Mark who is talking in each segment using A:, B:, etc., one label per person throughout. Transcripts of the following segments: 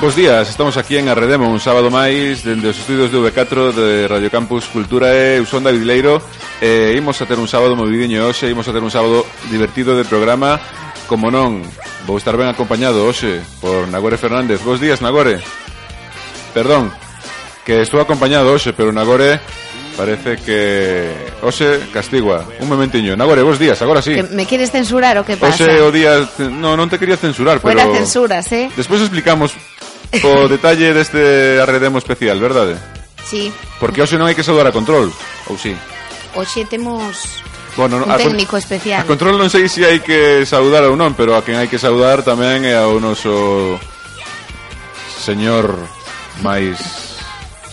A: Bos días, estamos aquí en Arredemo un sábado máis dende os estudios de V4 de Radio Campus Cultura e Usón David Leiro eh, Imos a ter un sábado movidiño hoxe, imos a ter un sábado divertido de programa Como non, vou estar ben acompañado hoxe por Nagore Fernández Bos días, Nagore Perdón, que estou acompañado hoxe, pero Nagore parece que hoxe castigua Un momentiño, Nagore, bos días, agora sí
B: Que me quieres censurar o que pasa?
A: Hoxe o día, no, non te quería censurar, pero
B: Fuera censuras, eh?
A: Despois explicamos o detalle deste arredemo especial, verdade?
B: Sí.
A: Porque hoxe non hai que saudar a control, ou sí?
B: Hoxe temos
A: Bueno,
B: un
A: a con-
B: técnico especial.
A: A control non sei se hai que saudar ou non, pero a quen hai que saudar tamén é ao noso señor máis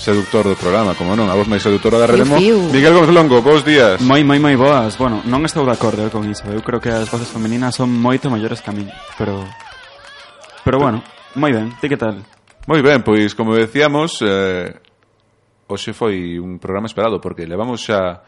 A: seductor do programa, como non, a voz máis seductora da Redemo,
B: Fiu, fiu.
A: Miguel Gómez Longo, bons días.
C: Moi, moi, moi boas. Bueno, non estou de acordo eh, con iso. Eu creo que as voces femininas son moito maiores que a min, pero Pero bueno, moi ben. Ti que tal?
A: Moi ben, pois pues como decíamos, eh, hoxe foi un programa esperado porque levamos xa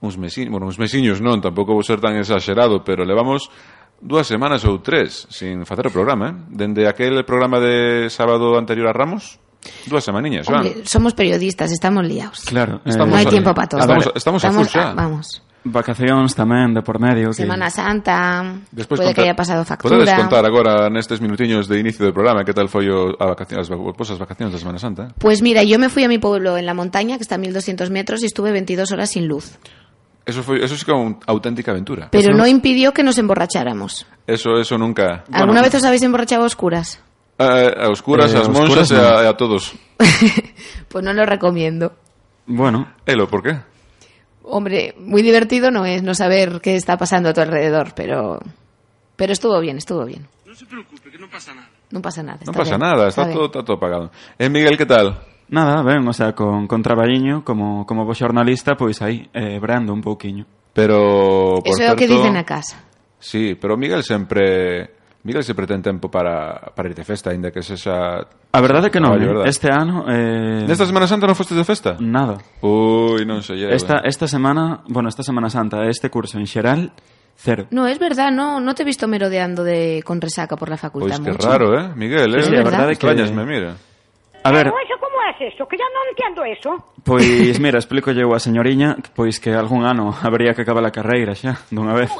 A: uns mesiños, bueno, uns mesiños non, tampouco vou ser tan exagerado, pero levamos dúas semanas ou tres sin facer o programa, eh? Dende aquel programa de sábado anterior a Ramos, dúas semaniñas,
B: Hombre,
A: van.
B: somos periodistas, estamos liados.
C: Claro. eh,
A: Estamos
B: no hay
A: a- Ah,
B: tiempo para todo.
A: estamos- estamos a full ya.
B: Vamos.
C: Vacacións tamén de por medio que
B: Semana Santa,
A: Despois conta-
B: puede que haya pasado factura.
A: Podedes contar agora nestes minutiños de inicio do programa que tal foi o, a vacación, as, va- pois as vacacións da Semana Santa?
B: Pues mira, yo me fui a mi pueblo en la montaña, que está a 1200 metros, y estuve 22 horas sin luz.
A: Eso foi, eso sí que é unha auténtica aventura.
B: Pero no impidió que nos emborracháramos.
A: Eso, eso nunca...
B: ¿Alguna vez os habéis emborrachado a oscuras?
A: A, a oscuras,
C: Eh,
A: as
C: a
A: monxas e
C: oscuras
A: a, e a todos.
B: Pues no lo recomiendo.
C: Bueno,
A: Elo, por qué?
B: Hombre, muy divertido no es no saber qué está pasando a tu alrededor, pero, pero estuvo bien, estuvo bien. No se preocupe, que no pasa nada. No
A: Non
B: pasa
A: pasa
B: nada.
A: nada, está,
B: bien.
A: todo, está todo apagado. E Miguel, que tal?
C: nada, ben, o sea, con con traballiño como como bo xornalista, pois aí eh brando un pouquiño.
A: Pero, por
B: Eso es lo que
A: certo,
B: dicen a casa.
A: Sí, pero Miguel sempre... Miguel sempre ten tempo para, para ir de festa, ainda que sexa...
C: A verdade é que non,
A: Traballo,
C: eh?
A: verdade.
C: este ano eh
A: Nesta Semana Santa non fostes de festa?
C: nada.
A: Ui, non sei. eu, eh.
C: Mm. Esta esta semana, bueno, esta Semana Santa, este curso en xeral, cero.
B: No, es verdad, no, no te he visto merodeando de, con resaca por la facultad.
A: Pois que
B: mucho.
A: raro, eh, Miguel, eh?
C: Sí,
B: sí, a verdade
C: que-
A: Extrañasme, mira.
C: A ver,
D: Pero eso, ¿cómo es eso? Que yo no entiendo eso.
C: Pois, mira, explico eu a señoriña Pois que algún ano habría que acabar a carreira xa Dunha vez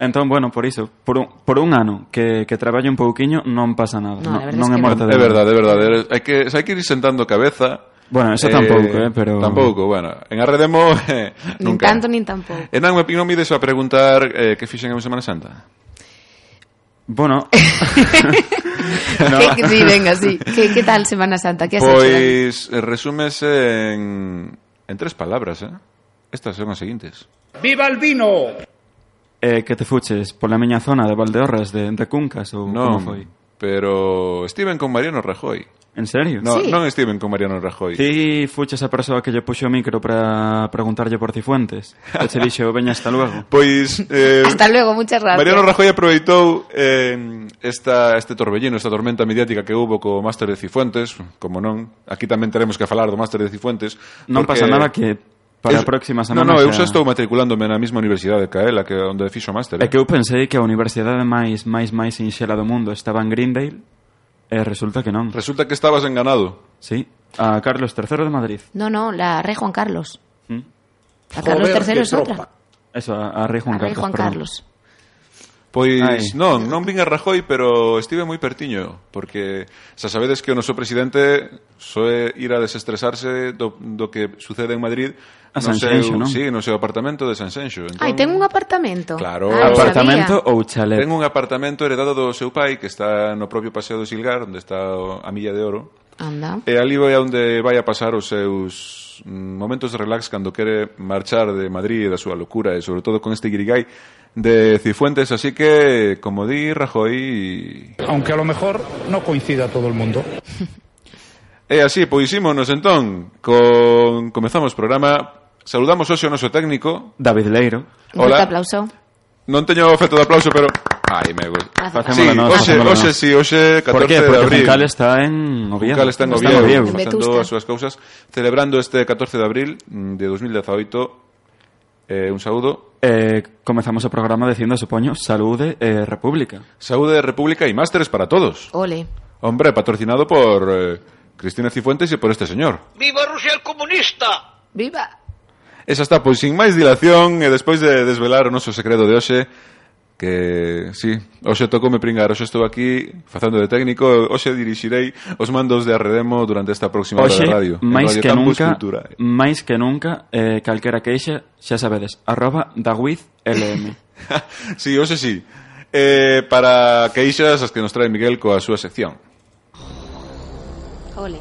C: Entón, bueno, por iso Por un, por un ano que, que traballo un pouquiño Non pasa nada
B: No,
C: Non,
B: a verdade
C: non
B: es
C: é
B: que
C: morte de
A: É verdade, é verdade. Hai que, hai que ir sentando cabeza.
C: Bueno, eso tampouco, eh, pero-
A: Tampouco, bueno. En Arredemo, eh,
B: Nin
A: nunca.
B: tanto, nin tampouco.
A: E non, me- non me ides a preguntar eh, que fixen en Semana Santa.
C: Bueno,
B: Que- sí, venga, sí. ¿Qué, qué tal Semana Santa? ¿Qué has hecho?
A: Pois eh, resúmese en, en tres palabras, eh? Estas son as seguintes.
E: ¡Viva el vino!
C: eh, que te fuches pola miña zona de Valdeorras De, de Cuncas ou como
A: Non,
C: foi
A: pero estiven con Mariano Rajoy.
C: En serio?
A: No,
B: Sí.
A: Non estiven con Mariano Rajoy.
C: Ti fuches a persoa que lle puxo o micro para preguntarlle por Cifuentes E che dixo, veña hasta luego
A: Pois... Eh,
B: Hasta luego, muchas gracias.
A: Mariano Rajoy aproveitou eh, esta, este torbellino, esta tormenta mediática que houbo co Máster de Cifuentes, como non, aquí tamén teremos que falar do Máster de Cifuentes.
C: Non
A: porque-
C: pasa nada que
A: Eu-
C: para a próxima semana
A: No, no, eu
C: xa-
A: xa estou matriculándome na mesma universidade que a ela, que onde fixo o máster. eh.
C: É que eu pensei que a universidade máis máis máis sinxela do mundo estaba en Greendale e resulta que non.
A: Resulta que estabas enganado.
C: Sí, a Carlos III de Madrid.
B: No, no, la Rey Juan Carlos.
C: ¿Mm?
B: La Carlos III es otra.
C: Eso, a, a Rei Juan
B: La Rey
C: Carlos.
B: Juan
C: perdón.
B: Carlos.
A: Pois
C: Ai.
A: non, non vin a Rajoy, pero estive moi pertiño, porque xa sabedes que o noso presidente soe ir a desestresarse do, do que sucede en Madrid
C: A
A: no
C: San
A: seu,
C: Xenxo, non?
A: sí, no seu apartamento de San Xenxo. Entón,
B: Ay, tengo un apartamento.
A: Claro.
B: Ah, lo
C: Apartamento
B: sabía.
C: ou chalet?
A: Ten un apartamento heredado do seu pai que está no propio Paseo do Silgar, onde está o- a Milla de Oro.
B: Anda.
A: E ali vai a onde vai a pasar os seus mm, momentos de relax cando quere marchar de Madrid e da súa locura e sobre todo con este guirigay de Cifuentes, así que como di Rajoy
E: Aunque a lo mejor no coincida todo el mundo.
A: E así, pois ímonos entón con... Comezamos o programa Saludamos hoxe o noso técnico
C: David Leiro.
B: Un
A: Hola.
B: fuerte aplauso.
A: Non teño efecto de aplauso, pero... Ai, me gusta
B: Gracias.
C: Facemos
A: Sí,
C: la nós,
A: hoxe,
C: facemos la
A: hoxe,
C: nós.
A: sí, hoxe 14
C: Por que?
A: de
C: Porque
A: abril
C: Juncal está en Oviedo.
A: Juncal está en
B: Está en
A: Oviedo,
B: Oviedo. En
A: facendo
B: Vetusta.
A: as súas cousas Celebrando este 14 de abril mm, de 2018 eh, Un saúdo
C: Eh, comezamos o programa dicindo, supoño, saúde e eh, república.
A: Saúde, República e másteres para todos
B: Ole.
A: Hombre, patrocinado por eh, Cristina Cifuentes y por este señor.
F: ¡Viva Rusia el comunista!
B: Viva.
A: Esa está, pois sin máis dilación e despois de desvelar o noso segredo de hoxe que, sí, hoxe tocoume pringar, hoxe estou aquí facendo de técnico, hoxe dirixirei os mandos de Arredemo durante esta próxima hora de
C: Hoxe,
A: radio. en
C: máis
A: Radio
C: que
A: Campus
C: nunca,
A: Cultura. eh.
C: máis que nunca, eh, calquera queixa, xa sabedes, arroba dawizlm.
A: sí, hoxe sí. Eh, para queixas as que nos trae Miguel coa súa sección.
B: Ole.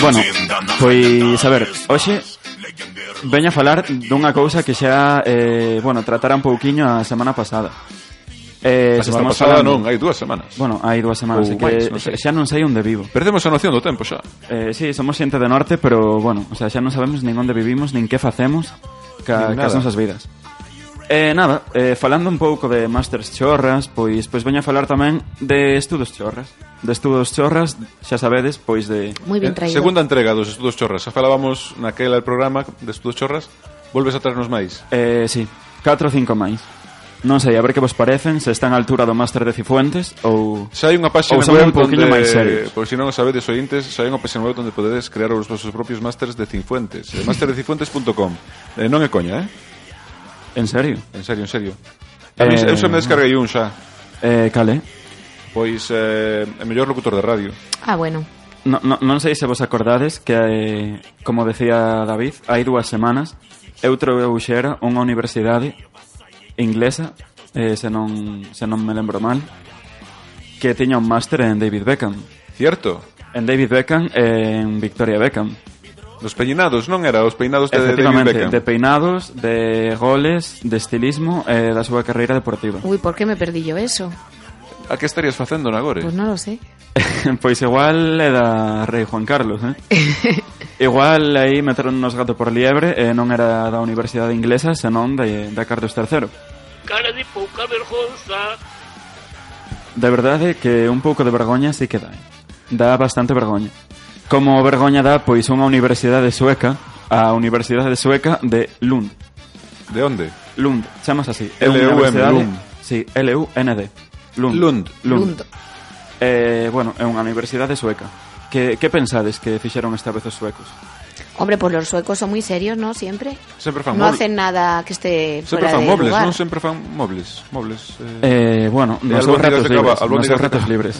C: Bueno, pois, a ver, hoxe veña a falar dunha cousa que xa, eh, bueno, tratara un pouquiño a semana pasada. Eh,
A: A
C: xa
A: semana
C: estamos
A: pasada
C: falando-
A: non, hai dúas semanas.
C: Bueno, hai dúas semanas,
A: Ou
C: así que
A: máis, non sei.
C: xa non sei onde vivo.
A: Perdemos a noción do tempo xa.
C: Eh, sí, somos xente de norte, pero bueno, o sea, xa non sabemos nin onde vivimos, nin que facemos ca,
A: Nin
C: cas
A: nada.
C: nosas vidas. Eh, nada, eh, falando un pouco de masters chorras, pois pois veño a falar tamén de estudos chorras. De estudos chorras, xa sabedes, pois de
B: Muy bien
A: Eh,
B: traído.
A: Segunda entrega dos Estudos Chorras. Xa falábamos naquela el programa de Estudos Chorras. Volves a traernos máis.
C: eh si, sí, 4 ou 5 máis. Non sei, a ver que vos parecen, se están á altura do máster de Cifuentes ou
A: Se hai unha páxina
C: Ou son
A: web
C: un pouquiño
A: onde,
C: máis serios.
A: por si non o sabedes ointes, se hai unha páxina web onde podedes crear os vosos propios másters de Cifuentes. Eh, Masterdecinfuentes.com. Eh, non é coña, eh?
C: en serio.
A: En serio, en serio. A mí,
C: Eh,
A: eu xa me descarguei un xa.
C: Eh, cale?
A: Pois eh, é mellor locutor de radio.
B: Ah, bueno.
C: No, no, non sei se vos acordades que, eh, como decía David, hai dúas semanas eu trobeu xera unha universidade inglesa, eh, se, non, se non me lembro mal, que tiña un máster en David Beckham.
A: Cierto.
C: En David Beckham e en Victoria Beckham.
A: Los peinados, non era? Os peinados de David
C: Efectivamente,
A: Beckham.
C: de peinados, de goles, de estilismo e eh, da súa carreira deportiva.
B: Uy, ¿por qué me perdí yo eso?
A: A que estarías facendo agora?
B: Pues no lo sé.
C: pois igual é da Rei Juan Carlos, eh? igual aí meteron nos gato por liebre e non era da Universidade Inglesa, senón de, da Carlos III.
F: Cara de pouca vergonza.
C: De verdade que un pouco de vergoña sí que dá. eh. Dá bastante vergoña. Como vergoña dá, pois, unha universidade sueca, a Universidade Sueca de Lund.
A: De onde?
C: Lund, chamas así.
A: LUM, Lund.
C: Lund. Sí, L-U-N-D. Lund.
A: Lund.
C: Lund. Eh, bueno, é unha universidade sueca. Que, que pensades que fixeron esta vez os suecos?
B: Hombre, pues los suecos son muy serios, ¿no? Siempre.
A: Sempre fan
B: no
A: mobles.
B: hacen nada que esté
A: Sempre
B: fuera
A: fan
B: de
A: mobles,
B: lugar.
A: non sempre fan mobles. Mobles. Eh...
C: Eh, bueno, nos seus
A: albóndigas
C: ratos
A: de cava,
C: libres. Nos
A: albóndigas
C: seus
A: de
C: ratos
A: cava.
C: libres.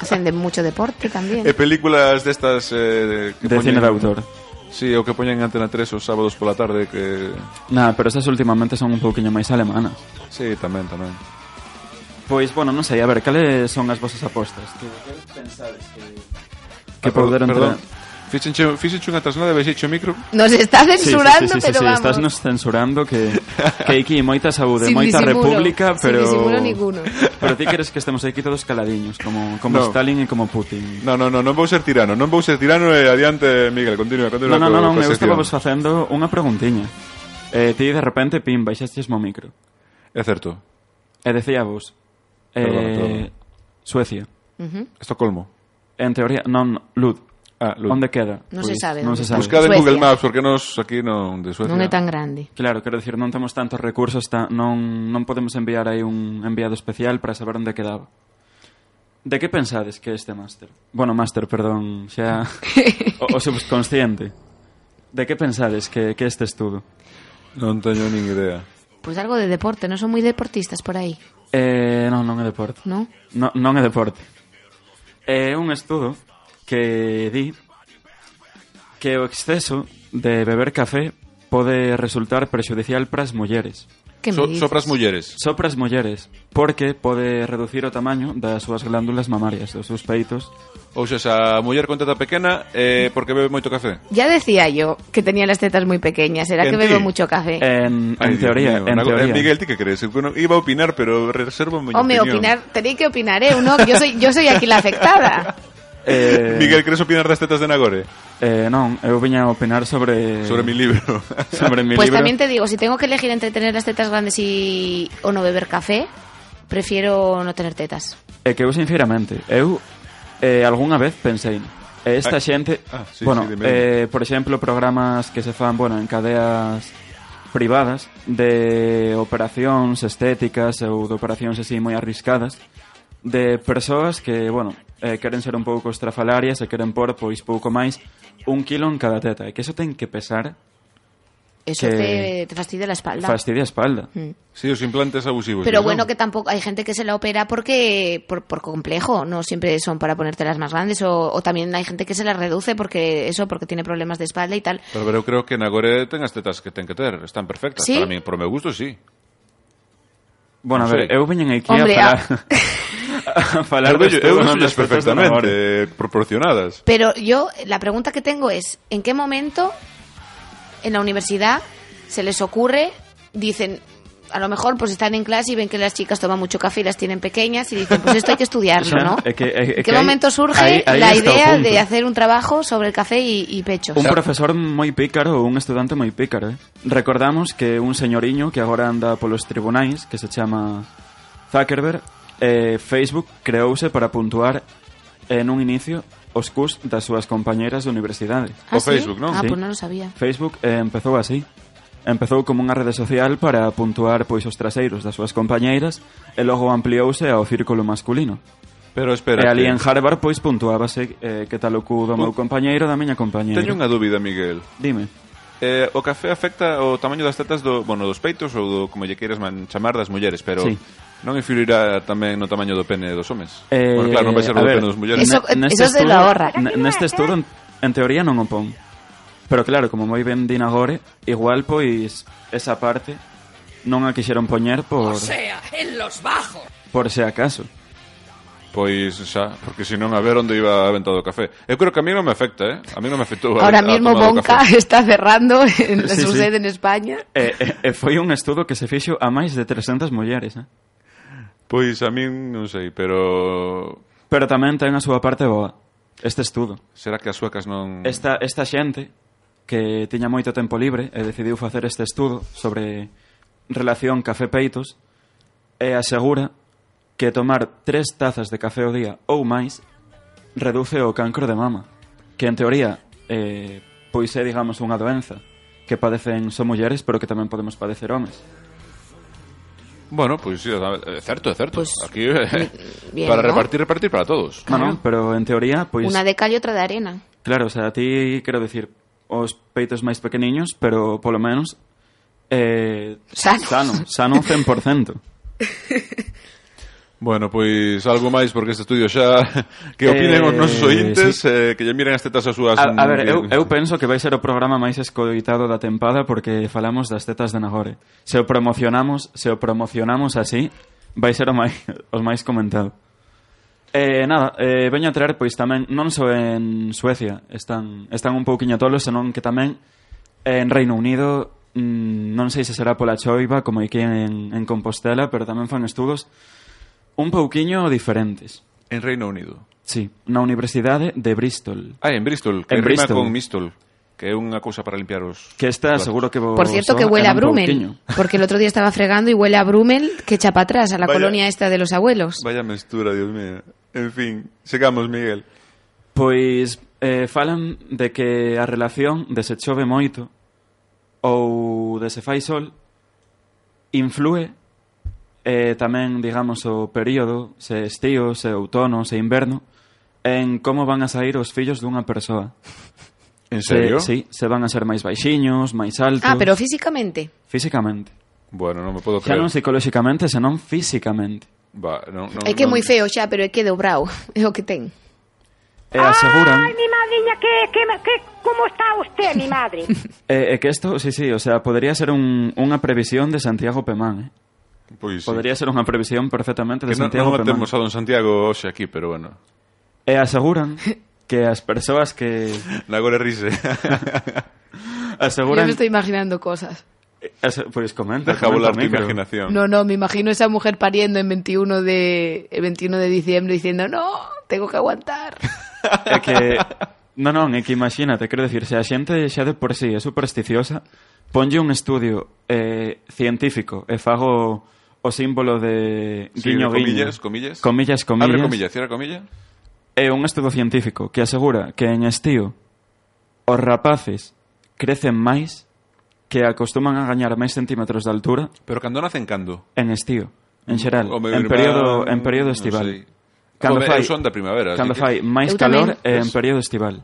B: Hacen de mucho deporte también.
A: E películas destas eh, que
C: De cine de autor.
A: Sí, o que poñen en Antena 3 os sábados pola tarde que...
C: Nah, pero esas últimamente son un pouquiño máis alemanas.
A: Sí, tamén, tamén.
C: Pois, bueno, non sei, a ver, cales son as vosas apostas? Que, que pensades que...
A: Ah,
C: Que
A: per-
C: poder entrar...
A: Perdón. Fíxenche, fíxenche unha trasnada e vexeche o micro.
B: Nos está censurando,
C: sí, sí, sí, sí,
B: pero
C: sí,
B: vamos.
C: estás nos censurando que, que aquí moita saúde,
B: Sin
C: moita
B: disimulo,
C: república,
B: sin
C: pero...
B: disimulo ninguno.
C: Pero ti queres que estemos aquí todos caladiños, como, como
A: No.
C: Stalin e como Putin.
A: No, no, no, non vou ser tirano, non vou ser tirano e adiante, Miguel, continúa,
C: No,
A: continúa.
C: no, no,
A: co-
C: no,
A: coa
C: eu
A: sección.
C: estaba vos facendo unha preguntiña. Eh, ti de repente, pim, baixaste mo micro.
A: É certo,
C: E decía vos eh,
A: Perdona, perdona.
C: Suecia
B: Ujú.
A: Estocolmo.
C: En teoría, non, Lud
A: Ah, Luz.
C: Onde queda?
B: Non se sabe
C: Non
B: onde
C: se
B: queda.
C: sabe
A: Buscade en
B: Suecia.
A: Google Maps, porque nos aquí non de Suecia.
B: Non é tan grande.
C: Claro, quero decir, non temos tantos recursos ta, non, non podemos enviar aí un enviado especial para saber onde quedaba De que pensades que este máster? Bueno, máster, perdón, xa o, o subconsciente De que pensades que, que este estudo?
A: Non teño nin idea.
B: Pues algo de deporte, no son muy deportistas por ahí,
C: Eh, non, non é deporte
B: ¿no?
C: No, non é deporte. É un estudo que di que o exceso de beber café pode resultar perxudicial para as mulleres.
B: ¿Qué me
A: So,
B: dices?
A: sopras mulleres.
C: Só para as mulleres, porque pode reducir o tamaño das súas glándulas mamarias, dos seus peitos.
A: Ou xa, xa a muller con teta pequena, eh, porque bebe moito café.
B: Ya decía yo que tenía las tetas muy pequeñas, era
A: En
B: que
A: ti. Eh,
B: bebo mucho café.
C: En, en
A: Ai, Dios
C: teoría,
A: mío,
C: en
A: na-
C: teoría.
A: eh, Miguel, ti que crees? Eu non- Iba a opinar, pero reservo mi
B: Hombre,
A: opinión.
B: opinar, tenéis que opinar, ¿eh? Uno, yo soy, yo soy aquí la afectada.
C: Eh,
A: Miguel, crees opinar das tetas de Nagore?
C: eh, non, eu viña a opinar sobre...
A: Sobre mi libro.
C: Sobre mi
B: Pues
C: libro.
B: también te digo, si tengo que elegir entre tener las tetas grandes y o no beber café, prefiero no tener tetas.
C: É que eu sinceramente, eu eh, algunha vez pensei e esta
A: Ah,
C: xente,
A: ah, sí,
C: bueno,
A: sí, dime, dime.
C: eh, por exemplo, programas que se fan, bueno, en cadeas privadas de operacións estéticas ou de operacións así moi arriscadas de persoas que, bueno, eh, queren ser un pouco estrafalarias e queren pôr, pois, pouco máis un kilo en cada teta. E que eso ten que pesar
B: Eso te,
C: que-
B: te fastidia la espalda.
C: fastidia a espalda.
B: Mm.
A: Sí, los implantes abusivos.
B: Pero
A: ¿no?
B: bueno, que tampoco hay gente que se la opera porque por, por complejo, no siempre son para ponértelas más grandes o, o también hay gente que se las reduce porque eso, porque tiene problemas de espalda y tal.
A: Pero, pero creo que en agora ten as tetas que ten que ter, están perfectas.
B: ¿Sí?
A: Para mí, por meu gusto, sí.
C: Bueno, a
A: Sí.
C: ver, eu veñen aquí
B: Hombre,
C: a
B: a-
C: falar... a falar
A: Eu
C: desto,
A: eu
C: bueno,
A: dólles
C: das tetas do namor.
A: perfectamente proporcionadas.
B: Pero yo, la pregunta que tengo es, ¿en qué momento en la universidad se les ocurre, dicen, a lo mejor pues están en clase y ven que las chicas toman mucho café y las tienen pequeñas y dicen, pues esto hay que estudiarlo,
C: Xa,
B: ¿no?
C: é que- é- é
B: ¿En
C: que
B: qué
C: aí-
B: momento surge
C: aí- aí
B: la
C: está o
B: idea
C: punto.
B: de hacer un trabajo sobre el café y, y pechos?
C: Un profesor moi pícaro ou un estudante moi pícaro, eh? Recordamos que un señoriño que agora anda polos tribunais, que se chama Zuckerberg, eh, Facebook creouse para puntuar en un inicio os cus das súas compañeras de universidade.
A: o
B: ¿Ah, sí?
A: Facebook, ¿no?
B: Ah,
C: Sí.
B: pues no lo sabía.
C: Facebook eh, empezou así. Empezou como unha rede social para puntuar pois os traseiros das súas compañeiras e logo ampliouse ao círculo masculino.
A: Pero espera.
C: Pero e ali
A: que-
C: en Harvard pois puntuábase eh, que tal o cu do
A: Pu-
C: meu compañeiro da miña compañeira.
A: Teño unha dúbida, Miguel.
C: Dime.
A: Eh, o café afecta o tamaño das tetas do, bueno, dos peitos ou do, como lle queiras man, chamar das mulleres, pero
C: Sí.
A: non influirá tamén no tamaño do pene dos homes.
C: Eh,
A: bueno, claro, non vai ser o
C: a
A: do
C: ver,
A: pene dos mulleres.
B: Eso-
C: ne- neste
B: eso se lo
C: estudo-
B: ahorra.
C: ne- Neste estudo, en, en teoría, non o pon. Pero claro, como moi ben din agora, igual, pois, esa parte non a quixeron poñer por... O sea, en los bajos. Por se acaso.
A: Pois xa, porque senón a ver onde iba aventado o café. Eu creo que a mí non me afecta, eh? A mí non me afectou a-
B: Ahora
A: a
B: mismo
A: tomar o
B: Bonca
A: café.
B: está cerrando en
C: Sí,
B: su
C: sí.
B: sede en España.
C: E, e, e foi un estudo que se fixo a máis de 300 mulleres, eh?
A: Pois a min non sei, pero
C: Pero tamén ten a súa parte boa este estudo.
A: será que as suecas non
C: Esta, esta xente que tiña moito tempo libre e decidiu facer este estudo sobre relación café-peitos e asegura que tomar tres tazas de café ao día ou máis reduce o cancro de mama, que en teoría eh, pois é, digamos, unha doenza que padecen só mulleres, pero que tamén podemos padecer homes.
A: Bueno, pois sí, é certo, é certo.
B: Pois,
A: Aquí eh,
B: bien,
A: para
B: ¿no?
A: repartir, repartir para todos.
C: Claro. Bueno, pero en teoría, pois...
B: Una de cal y otra de arena.
C: Claro, o sea, a ti, quero dicir, os peitos máis pequeniños, pero polo menos... Eh,
B: Sanos.
C: Sano, sano 100%.
A: Bueno, pois algo máis porque este estudio xa que opinen
C: Eh,
A: os nosos ointes,
C: sí.
A: eh, que lle miren as tetas as súas.
C: A, a ver, eu, eu penso que vai ser o programa máis escoitado da tempada porque falamos das tetas de Nagore. Se o promocionamos, se o promocionamos así, vai ser o máis, os máis comentado. Eh, nada, eh, veño a traer, pois tamén, non só en Suecia, están, están un pouquiño tolos, senón que tamén en Reino Unido, mm, non sei se será pola choiva, como aquí en, en Compostela, pero tamén fan estudos un pouquiño diferentes.
A: en Reino Unido.
C: Sí, na Universidade de Bristol.
A: Ah, en Bristol, que
C: En
A: rima
C: Bristol.
A: con Mistol, que é unha cousa para limpiar os
C: Que esta
A: platos.
C: seguro que vos
B: Por cierto, que
C: sona-
B: huele a
C: era un
B: Brumel.
C: pouquiño.
B: Porque el otro día estaba fregando y huele a Brumel que chapa atrás, a la
A: Vaya.
B: colonia esta de los abuelos.
A: Vaya mestura, Dios mío. En fin, sigamos, Miguel.
C: Pois eh, falan de que a relación de se chove moito ou de se fai sol influe eh, tamén, digamos, o período, se estío, se outono, se inverno, en como van a sair os fillos dunha persoa.
A: En serio?
C: Se, sí, se van a ser máis baixiños, máis altos,
B: Ah, pero físicamente.
C: físicamente.
A: Bueno, non me podo
C: Xa
A: creer.
C: non psicolóxicamente, senón físicamente.
A: Va, non, non,
B: É que é
A: non-
B: moi feo xa, pero é que dobrao. É o que ten.
C: E aseguran...
D: Ay, mi madriña, que, que, que, ¿cómo está usted, mi madre?
C: Eh, eh, que esto, sí, sí, o sea, podría ser un, unha previsión de Santiago Pemán, eh?
A: Pois sí.
C: Podría ser unha previsión perfectamente de
A: que non,
C: Santiago
A: non o
C: Pemán.
A: temos a Don Santiago hoxe aquí, pero bueno.
C: E aseguran que as persoas que
A: Nagore rise.
C: aseguran...
B: imaginando cosas.
C: Ase- Pois comenta,
A: Deja volar
C: comenta,
A: tu
C: micro.
A: imaginación.
B: No, no, me imagino esa mujer pariendo en 21 de, el 21 de diciembre diciendo, no, tengo que aguantar.
C: É que... Non, non, é que imagínate, quero dicir, se a xente xa de por sí é supersticiosa, ponlle un estudio eh, científico e fago o símbolo de
A: Sí,
C: guiño, guiño.
A: comillas, comillas.
C: Comillas, comillas.
A: Abre comilla, cierra comilla.
C: É un estudo científico que asegura que en estío os rapaces crecen máis que acostuman a gañar máis centímetros de altura
A: Pero cando nacen cando?
C: en estío, en xeral,
A: O meu
C: en
A: irmán,
C: período en período
A: non
C: estival.
A: sei. Home, eu son da primavera, así
C: Cando
A: que-
C: fai máis
B: Eu
C: calor
B: tamén.
C: é en período estival.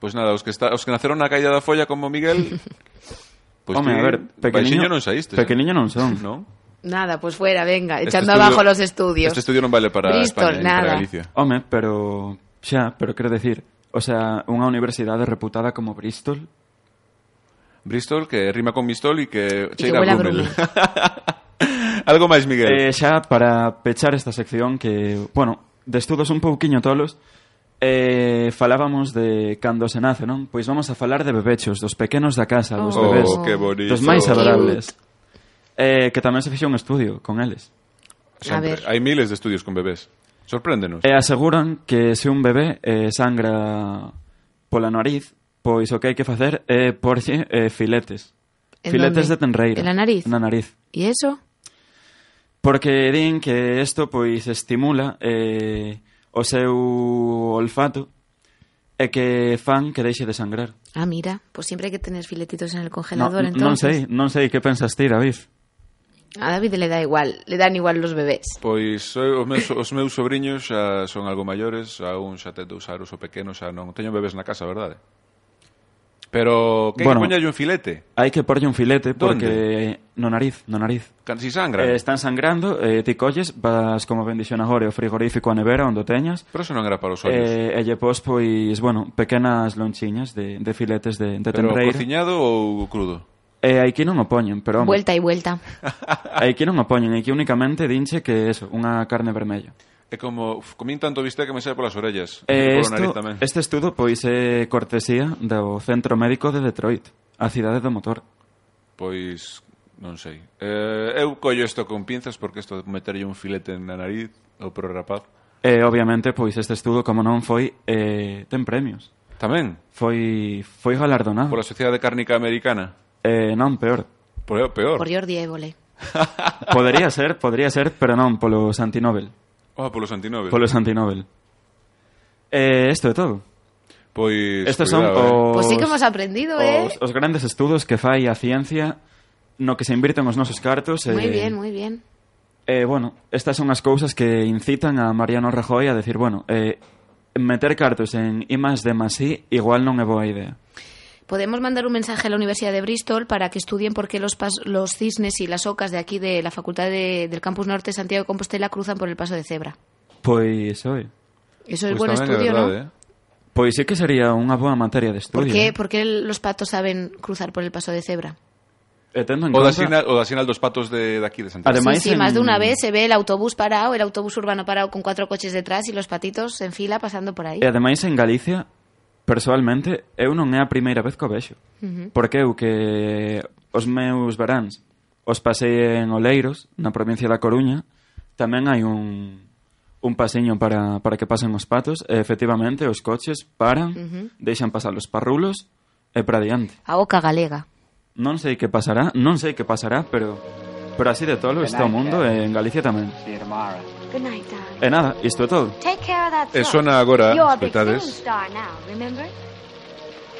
A: Pois pues nada, os que está, os que naceron na caída da folla como Miguel, pues pois
C: Home,
A: ti,
C: a ver, pequeniño
A: baxiño non saíste.
C: Pequeniño non son.
A: Non?
B: Nada, pues fuera, venga,
A: ¿eh? Este
B: echando
A: estudio-
B: abajo los estudios.
A: Este estudio non vale para
B: Bristol,
A: España,
B: nada.
A: nada. para Galicia.
C: Home, pero xa, pero quero decir, o sea, unha universidade reputada como Bristol
A: Bristol, que rima con Mistol e que
B: que
A: chega
B: huela
A: a
B: a
A: Brumel. Algo máis, Miguel.
C: Eh, xa para pechar esta sección que, bueno, de estudos un pouquiño tolos, eh, falábamos de cando se nace, non? Pois vamos a falar de bebechos, dos pequenos da casa, dos
B: Oh.
C: bebés,
A: Oh, que bonito.
C: dos máis
B: Cute.
C: adorables. Eh, que tamén se fixo un estudio con eles.
B: A ver.
A: Hai miles de estudios con bebés. Sorpréndenos.
C: E aseguran que se un bebé eh, sangra pola nariz, pois o que hai que facer é porlle eh, filetes.
B: En
C: Filetes
B: donde?
C: de tenreira.
B: En la nariz?
C: Na nariz.
B: ¿Y eso?
C: Porque din que isto pois estimula eh, o seu olfato e que fan que deixe de sangrar.
B: Ah, mira, pues siempre hay que tener filetitos en el
C: No,
B: congelador,
C: non
B: entonces.
C: sei, non sei que pensas ti, David.
B: A David le da igual, le dan igual los bebés.
A: Pois eu- os meus, os meus sobrinhos xa son algo maiores, a un xa ten dous anos o pequeno, xa non teño bebés na casa, verdade? Pero que bueno,
C: Bueno.
A: poñalle un filete,
C: Hai que porlle un filete
A: Donde?
C: porque no nariz, no nariz.
A: can si sangra.
C: Eh, están sangrando, eh, ti colles, vas como ben dixen agora o frigorífico a nevera onde o teñas.
A: Pero eso non era para os ollos.
C: Eh, e lle pos pois, bueno, pequenas lonchiñas de, de filetes de, de
A: Pero
C: tenreira.
A: cociñado ou crudo?
C: E aquí non o poñen, pero home,
B: Vuelta y vuelta.
C: aquí non o poñen, aquí únicamente dinche que eso, unha carne vermella.
A: É como, uf, comín tanto bistec que me sae polas orellas. e polo
C: Eh, esto-
A: nariz tamén.
C: este estudo pois é cortesía do Centro Médico de Detroit, a cidade do motor.
A: Pois non sei. Eh, eu collo isto con pinzas porque isto de meterlle un filete na nariz ou pro rapaz.
C: E obviamente pois este estudo como non foi eh, ten premios.
A: Tamén
C: Foi foi galardonado.
A: pola Sociedade Cárnica Americana.
C: Eh, non peor.
A: Por peor.
B: Por Jordi Évole.
C: Podería ser, podría ser, pero non polo Santinobel.
A: Oh, polo Santinobel.
C: Polo Santinobel. Eh, isto é todo.
A: Pois
C: Estes son
A: cuidado,
C: os
B: Pues sí que hemos aprendido, ¿eh?
C: os, os grandes estudos que fai a ciencia no que se invirten os nosos cartos eh, e,
B: Muy bien, muy bien.
C: e Eh, bueno, estas son as cousas que incitan a Mariano Rajoy a decir, bueno, eh, meter cartos en I más D más I igual non é boa idea.
B: Podemos mandar un mensaje a la Universidad de Bristol para que estudien por qué los, pas- los cisnes y las ocas de aquí de la Facultad de- del Campus Norte de Santiago de Compostela cruzan por el paso de cebra.
C: Pois, oi.
B: Eso
A: eh.
B: es
A: Pois
B: buen
A: tamén é
B: estudio, ¿no?
A: verdade, eh.
C: Pois sí que sería unha boa materia de
B: ¿Por
C: estudio.
B: qué, por qué los patos saben cruzar por el paso de cebra?
C: eh. E tendo en
A: O da,
C: conta,
A: sinal, o da sinal dos patos de, de aquí, de Santiago.
C: Ademais- Además,
B: sí, sí, más de
C: en-
B: una vez se ve el autobús parado, el autobús urbano parado con cuatro coches detrás y los patitos en fila pasando por ahí.
C: e ademais en Galicia, persoalmente, eu non é a primeira vez que o vexo.
B: Ujú.
C: Porque eu que os meus veráns os pasei en Oleiros, na provincia da Coruña, tamén hai un, un pasiño para, para que pasen os patos, e efectivamente os coches paran,
B: Ujú.
C: deixan pasar os parrulos e para diante.
B: A oca galega.
C: Non sei que pasará, non sei que pasará, pero pero así de todo está o mundo e en Galicia tamén.
G: Good night, darling.
C: E nada, isto é todo.
G: Take care of that
A: E
G: son.
A: sona Eh, agora,
G: You're a big
A: escoitades.
G: film star now, remember?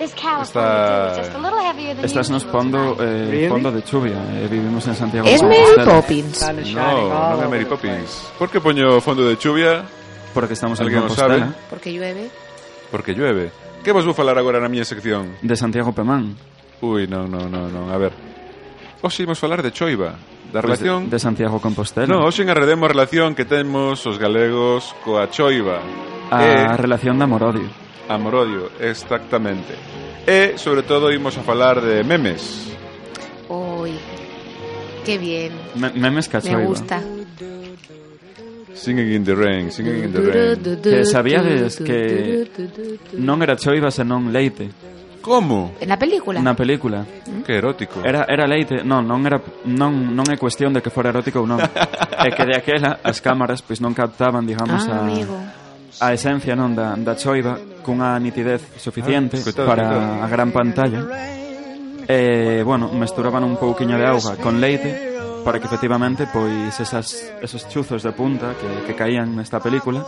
G: This
A: Está-
G: California dew is just a little heavier than
C: Estás nos
G: usual
C: pondo
G: tonight.
C: eh, fondo de chuvia, e vivimos en Santiago. de
B: Es Mary
C: Compostela,
B: Poppins.
A: No, non é Mary Poppins. Por que poño fondo de chuvia?
C: Porque estamos en
A: Alguén o
C: Compostela,
A: sabe?
B: Porque llueve.
A: Porque llueve. Que vos vou falar agora na miña sección?
C: de Santiago Pemán.
A: Ui, non, non, non, non, a ver. Hoxe imos falar de choiva, da
C: Pois
A: relación...
C: de, de Santiago Compostela.
A: No, hoxe engarredemos a relación que temos os galegos coa choiva.
C: a
A: E-
C: relación de amor-odio.
A: Amorodio, exactamente. E, sobre todo, imos a falar de memes.
B: Uy, qué bien.
C: Me- memes cachoiva.
B: Me gusta.
A: Singing in the Rain, Singing in the Rain.
C: Que sabíades que non era choiva senón leite
A: Como?
B: En la película.
C: na película.
A: Que erótico.
C: Era era leite, non, non era non non é cuestión de que fora erótico ou non. é que de aquela as cámaras pois non captaban, digamos,
B: Ah,
C: a
B: amigo.
C: a esencia non da da choiva cunha nitidez
A: Ah,
C: suficiente
A: coitado,
C: para
A: coitado.
C: a gran pantalla. E, bueno, mesturaban un pouquiño de auga con leite para que efectivamente pois esas, esos chuzos de punta que, que caían nesta película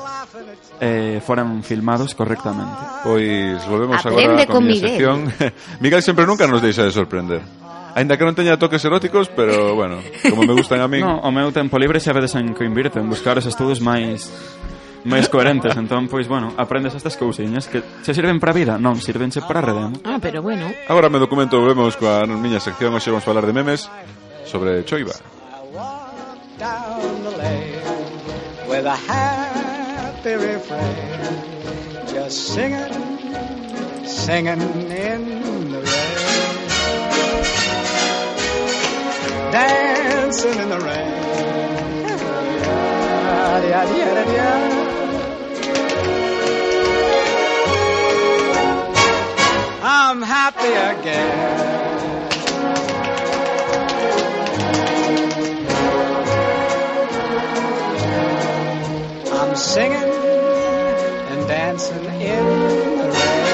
C: eh, foran filmados correctamente.
A: Pois volvemos
B: Aprende
A: agora con,
B: con
A: miña
B: Miguel.
A: sección. Miguel sempre nunca nos deixa de sorprender. Ainda que non teña toques eróticos, pero bueno, como me gustan a min.
C: No, o meu tempo libre xa vedes en que invirto en buscar os estudos máis máis coherentes, entón, pois, bueno, aprendes estas cousiñas que se sirven para a vida, non, sirvense para a redemo.
B: Ah, pero bueno.
A: Agora me documento volvemos coa miña sección, hoxe vamos falar de memes sobre Choiva.
H: down the lane with a happy refrain, just singing, singing in the rain, dancing in the rain. Yada, yada, yada, yada. I'm happy again. I'm singing and dancing in the rain.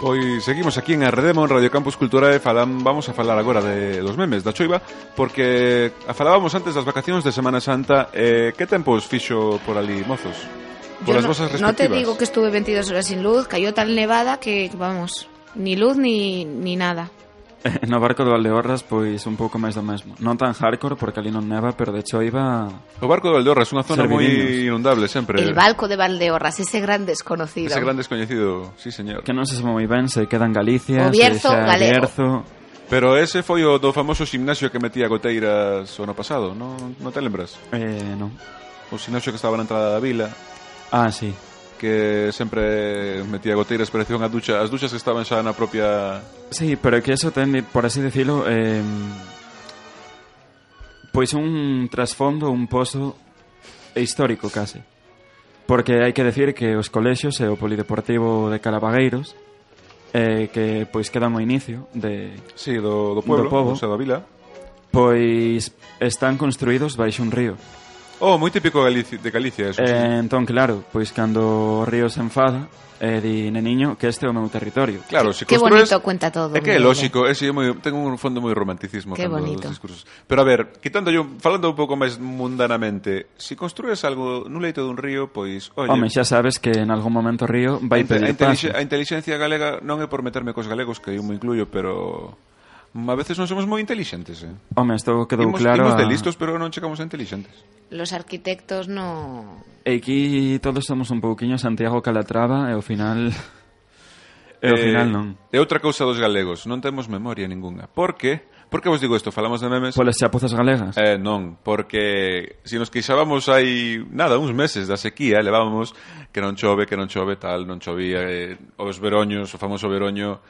A: Pois seguimos aquí en Arredemo, en Radio Campus Cultura e falan, vamos a falar agora de dos memes da choiva porque a falábamos antes das vacacións de Semana Santa eh, que tempos fixo por ali, mozos? Por
B: Yo
A: as
B: no,
A: vosas
B: no te
A: respectivas
B: digo que estuve 22 horas sin luz, cayó tal nevada que, vamos, ni luz ni, ni nada.
C: No barco do Valdeorras, pois, un pouco máis do mesmo. Non tan hardcore, porque ali non neva, pero de hecho iba...
A: O barco do Valdeorra é unha zona moi
C: Servidinos.
A: inundable sempre
B: El balco de Valdeorras, ese gran desconocido.
A: Ese gran descoñecido, sí señor
C: Que non se sabe moi ben se queda en
B: O
C: Galicia,
B: Bierzo,
C: se xa é
B: galego.
C: Bierzo...
A: Pero ese foi o do famoso gimnasio que metía goteiras o ano pasado, non, non te lembras?
C: Eh, non.
A: O gimnasio que estaba na entrada da vila
C: Ah, sí.
A: que sempre metía goteiras, parecía unha ducha, as duchas que estaban xa na propia...
C: Sí, pero que eso ten, por así decirlo, eh, pois un trasfondo, un pozo histórico case. Porque hai que decir que os colexios e o polideportivo de Calabagueiros eh, que pois quedan o inicio de
A: Sí, do, do pueblo,
C: Do pobo.
A: o sea, da vila.
C: pois están construídos baixo un río.
A: Oh, moi típico Galici- de Galicia, eso. sí.
C: Eh, entón, claro, pois cando o río se enfada, eh, di, neniño, que este é o meu territorio.
A: Claro, si
B: Qué
A: construes-
B: bonito cuenta todo.
A: É que é
B: Miguel.
A: lógico, ese é moi, ten un fondo moi romanticismo
B: Qué
A: cando
B: bonito.
A: dos discursos. Pero a ver, quitando yo, falando un pouco máis mundanamente, se si construes algo nun leito dun río, pois, oye,
C: Home, xa sabes que en algún momento o río vai
A: inte-
C: pedir
A: intelixe- a
C: paso.
A: inteligencia galega non é por meterme cos galegos, que eu me incluyo, pero a veces non somos moi intelixentes, eh.
C: Home, isto quedou
A: imos,
C: claro.
A: imos de
C: a-
A: listos, pero non chegamos a intelixentes.
B: Los arquitectos no...
C: E aquí todos somos un pouquiño Santiago Calatrava e ao final e ao
A: Eh,
C: final non.
A: E outra cousa dos galegos, non temos memoria ningunha. Por que? Por que vos digo isto? Falamos de memes.
C: Polas chapuzas galegas.
A: Eh, non, porque se nos queixábamos hai nada, uns meses da sequía, levábamos que non chove, que non chove, tal, non chovía, eh, os veroños, o famoso veroño,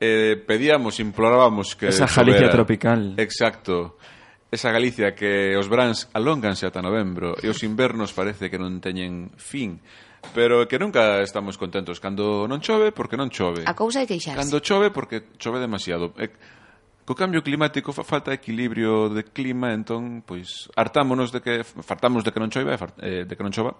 A: eh, pedíamos, implorábamos que
C: Esa Galicia
A: chovera.
C: tropical.
A: Exacto. Esa Galicia que os brans alónganse ata novembro e os invernos parece que non teñen fin. Pero que nunca estamos contentos cando non chove porque non chove.
B: A cousa de queixarse.
A: Cando chove, porque chove demasiado. E, co cambio climático fa falta equilibrio de clima, entón, pois, hartámonos de que fartámonos de que non choiva, e far- eh, de que non chova,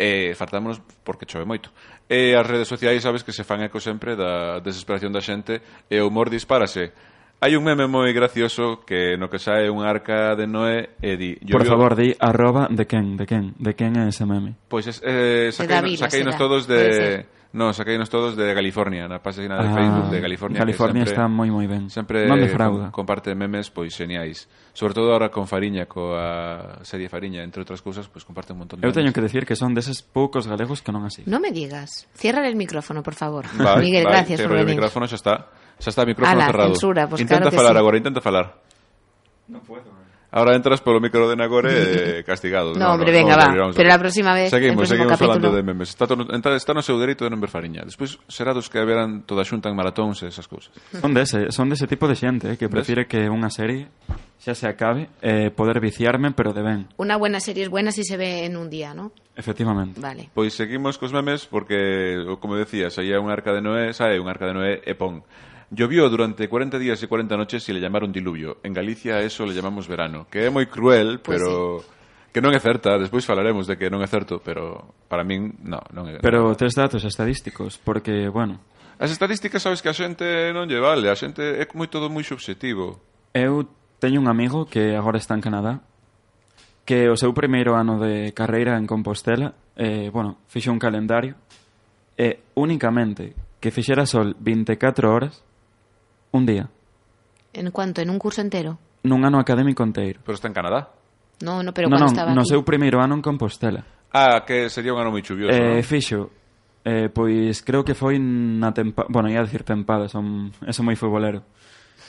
A: e fartámonos porque chove moito. E as redes sociais sabes que se fan eco sempre da desesperación da xente e o humor dispárase. Hai un meme moi gracioso que no que sae un arca de Noé e di...
C: Por
A: "Llovió".
C: favor, di arroba de quen, de quen, de quen é ese meme.
A: Pois es, eh, saquei,
B: Davila
A: saqueinos
B: será,
A: todos
B: pode
A: de...
B: ser.
A: No, saqueinos todos de California, na página de
C: Ah,
A: Facebook de California. que
C: California
A: sempre-
C: está moi moi ben.
A: Sempre
C: non
A: eh,
C: defrauda.
A: com- comparte memes pois xeniais. Sobre todo ahora con Fariña, coa serie Fariña, entre outras cousas, pois comparte un montón de
C: Eu teño
A: memes.
C: que decir que son deses poucos galegos que non así.
B: No me digas. Cierra el micrófono, por favor.
A: Vai,
B: Miguel,
A: vai,
B: gracias
A: cerro
B: por
A: o
B: venir.
A: micrófono, xa está. Xa está o micrófono
B: Ala,
A: cerrado.
B: censura, pois
A: intenta
B: claro que
A: falar
B: sí.
A: agora, intenta falar. Non puedo. Ahora entras polo micro de Nagore eh, castigado.
B: No, hombre, venga, va.
A: vamos a
B: Pero
A: ver.
B: la próxima vez,
A: Seguimos,
B: el próximo
A: seguimos
B: capítulo.
A: falando de memes. Está, to, entra, está no seu dereito de non ver Fariña. Despois será dos que verán toda xunta en maratóns e esas cousas.
C: Son dese, son dese tipo de xente eh, que prefire que unha serie xa se acabe eh, poder viciarme, pero de ben.
B: Una buena serie es buena si se ve en un día, ¿no?
C: Efectivamente.
B: Vale.
A: Pois seguimos cos memes porque, o como decías, aí é un arca de Noé, sae un arca de Noé e pon. Llovió durante 40 días y 40 noches y le llamaron diluvio. En Galicia a eso le llamamos verano, que é moi cruel,
B: Pois
A: pero que non é certa, despois falaremos de que non é certo, pero para min, no, non é.
C: Pero tes datos estadísticos, porque, bueno,
A: As estadísticas sabes que a xente non lle vale, a xente é moi todo moi subjetivo.
C: Eu teño un amigo que agora está en Canadá que o seu primeiro ano de carreira en Compostela eh, bueno, fixo un calendario e únicamente que fixera sol 24 horas un día
B: En cuanto, en un curso entero.
C: nun ano académico enteiro
A: Pero está en Canadá.
B: No, no, pero
C: non,
B: cuando
C: non,
B: estaba
C: no
B: aquí.
C: seu primeiro ano en Compostela
A: Ah, que sería un ano moi chuvioso.
C: eh,
A: Eh,
C: fixo eh, pois creo que foi na tempa... bueno, ia dicir tempada son... eso moi futbolero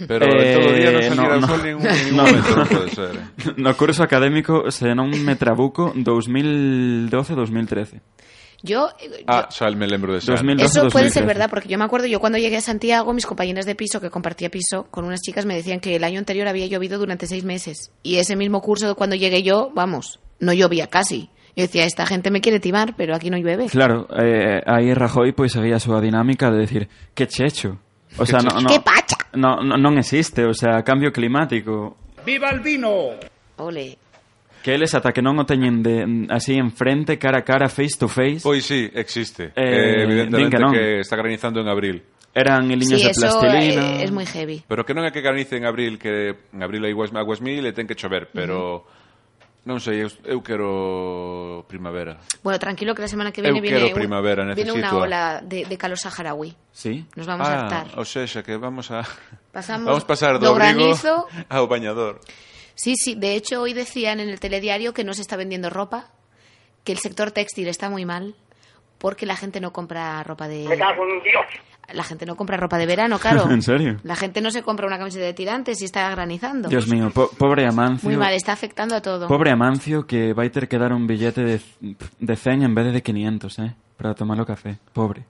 A: Pero eh, todo o día non
C: eh,
A: salía
C: no,
A: o sol
C: no.
A: ningún, ningún
C: No.
A: momento, non pode ser. eh.
C: no curso académico se non me trabuco 2012-2013
B: Yo, eh,
A: Ah, xa me lembro de xa.
C: 2000.
B: Eso
C: 2012,
B: puede ser
C: 2013.
B: verdad, porque yo me acuerdo, yo cuando llegué a Santiago, mis compañeras de piso, que compartía piso con unas chicas, me decían que el año anterior había llovido durante seis meses. Y ese mismo curso, cuando llegué yo, vamos, no llovía casi. Yo decía, esta gente me quiere timar, pero aquí no llueve.
C: Claro, eh, aí Rajoy pois seguía a súa dinámica de decir que checho. O sea, no, no,
B: Que pacha.
C: No, no, non existe, o sea, cambio climático.
E: ¡Viva el vino!
B: Ole.
C: Que eles ata que non o teñen de, así enfrente, cara a cara, face to face,
A: Pois sí, existe.
C: Eh,
A: Eh,
C: din
A: evidentemente
C: que non.
A: que, está granizando en abril.
C: eran
B: Sí,
C: liños de
B: eso
C: plastilina.
B: eh, es muy heavy.
A: Pero que non é que granice en abril, que en abril hai aguas, aguas mil e ten que chover, pero... Non sei, eu, eu quero primavera.
B: Bueno, tranquilo que la semana que
A: Eu
B: viene viene,
A: quiero
B: un-
A: primavera,
B: viene una
A: necesito-
B: ola de, de calor saharaui.
C: Sí.
B: Nos vamos
A: Ah,
B: a hartar.
A: o sexa, que vamos a...
B: Pasamos
A: vamos pasar do,
B: do
A: abrigo
B: granizo-
A: ao bañador.
B: Sí, sí, de hecho hoy decían en el telediario que no se está vendiendo ropa, que el sector textil está muy mal porque la gente no compra ropa de La gente no compra ropa de verano, claro.
C: ¿En serio?
B: La gente no se compra una camiseta de tirantes si está granizando.
C: Dios mío, po pobre Amancio.
B: muy mal, está afectando a todo.
C: Pobre Amancio que vai ter que dar un billete de, de 100 en vez de 500, eh, para tomar o café. Pobre.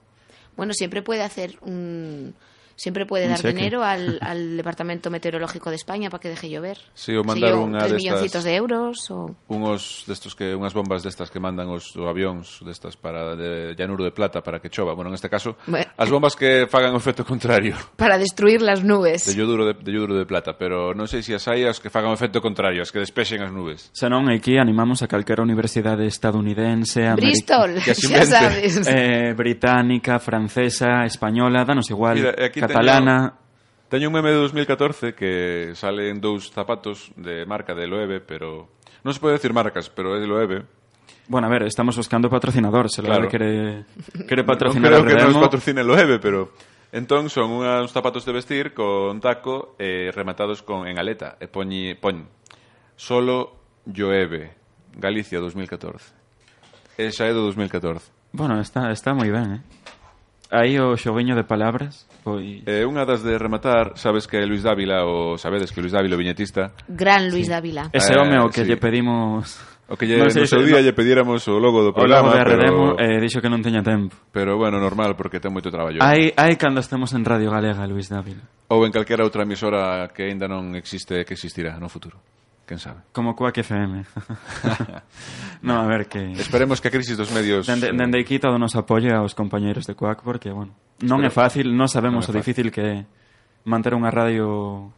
B: Bueno, siempre puede hacer un siempre puede
C: Un
B: dar
C: cheque.
B: dinero al, al Departamento Meteorológico de España para que deje llover.
A: Sí, o
B: Qué sé
A: mandar
B: yo,
A: unha
B: tres
A: destas-
B: milloncitos de euros o
A: Unhos destos que unhas bombas destas que mandan os o avións destas para de llanuro de plata para que chova. Bueno, neste caso,
B: Bueno.
A: as bombas que fagan o efecto contrario.
B: para destruir las nubes.
A: De yoduro de, de yoduro de plata, pero non sei se as hai as que fagan o efecto contrario, as que despexen as nubes.
C: Senón aquí animamos a calquera universidade estadounidense, americana,
B: Bristol,
A: Que se
B: ya
A: invente.
B: sabes.
C: eh, británica, francesa, española, danos igual,
A: Mira, aquí
C: catalana.
A: Teño un meme de 2014 que salen dous zapatos de marca de Loewe, pero non se pode decir marcas, pero é de Loewe.
C: Bueno, a ver, estamos buscando patrocinador, se
A: Claro.
C: claro. quere, quere
A: Non
C: patrocinar
A: creo
C: a
A: que nos
C: Redemo.
A: patrocine Loewe, pero entón son uns zapatos de vestir con taco e rematados con en aleta e poñi poñ solo Loewe, Galicia 2014. Esa é do 2014.
C: Bueno, está, está moi ben, eh? Aí o xoguiño de palabras, foi...
A: E unha das de rematar, sabes que Luis Dávila, o sabedes que Luis Dávila, o viñetista,
B: Gran Luis Dávila.
C: Ese
A: eh,
C: home ao que
A: sí.
C: lle pedimos...
A: O que lle, no,
C: sei
A: no seu
C: se-
A: día
C: no,
A: lle pediéramos o logo do
C: O logo
A: programa,
C: de Redemo
A: pero,
C: eh, dixo que non teña tempo.
A: pero bueno, normal, porque ten moito traballo.
C: Aí, aí cando estemos en Radio Galega, Luis Dávila.
A: Ou en calquera outra emisora que aínda non existe, que existirá no futuro. Quen sabe.
C: Como Quack FM. no, a ver, que...
A: Esperemos que a crisis dos medios...
C: Dende,
A: eh,
C: dende aquí todo nos apoio aos compañeiros de CUAC porque, bueno,
A: Espero-
C: non é fácil, non sabemos
A: non é
C: o difícil que é manter unha radio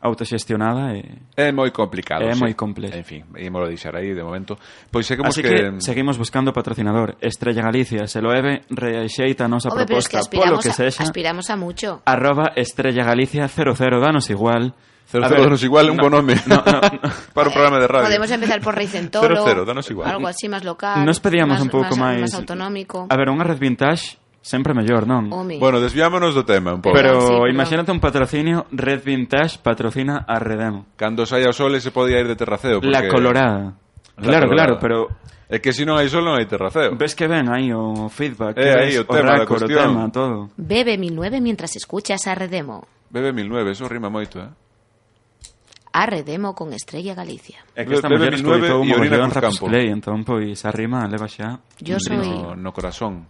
C: autoxestionada e
A: É moi complicado.
C: É
A: sí.
C: moi complexo.
A: En fin, ímolo deixar aí de momento. Pois seguimos
C: Así
A: que...
C: que, seguimos buscando patrocinador. Estrella Galicia, se lo eve, reaxeita a nosa
B: Hombre, pero es que
C: proposta polo
B: aspiramos,
C: que
B: a-
C: sexa.
B: aspiramos a mucho.
C: Arroba Estrella Galicia 00, danos igual.
A: Cero,
C: A
A: cero,
C: ver,
A: danos igual, un
C: no,
A: bo nome.
C: No, no, no.
A: Para un programa de radio.
B: Podemos empezar por Rey Centoro,
A: Cero, cero, danos igual.
B: algo así más local.
C: Nos pedíamos
B: más-
C: un pouco
B: más,
C: máis...
B: más autonómico. Oh,
C: A ver, unha red vintage sempre mellor, non?
B: Omi.
A: Bueno, desviámonos do tema un pouco.
B: Pero-
A: Pero...
C: Pero
B: sí, pero-
C: imagínate un patrocinio, Red Vintage patrocina a Redemo.
A: Cando saia o sol se podía ir de terraceo. Porque...
C: La Colorada.
A: La Colorada.
C: Claro, claro, pero
A: É que se non hai sol non hai terraceo.
C: ves que ven aí o
A: Eh,
C: feedback, que
A: aí
C: ves
A: o tema, la
C: o
A: cuestión.
C: tema, todo.
B: Bebe 1009 mientras escuchas a Redemo.
A: Bebe 1009, eso rima moito, eh?
B: A Redemo con Estrella Galicia.
C: É que esta
A: Bebe 1009
C: muller escoitou un
A: e orina
C: mogollón
A: Cruz
C: Rapos
A: Campo.
C: Play, entón, pois, a rima leva xa.
B: Yo soy...
A: No, no corazón.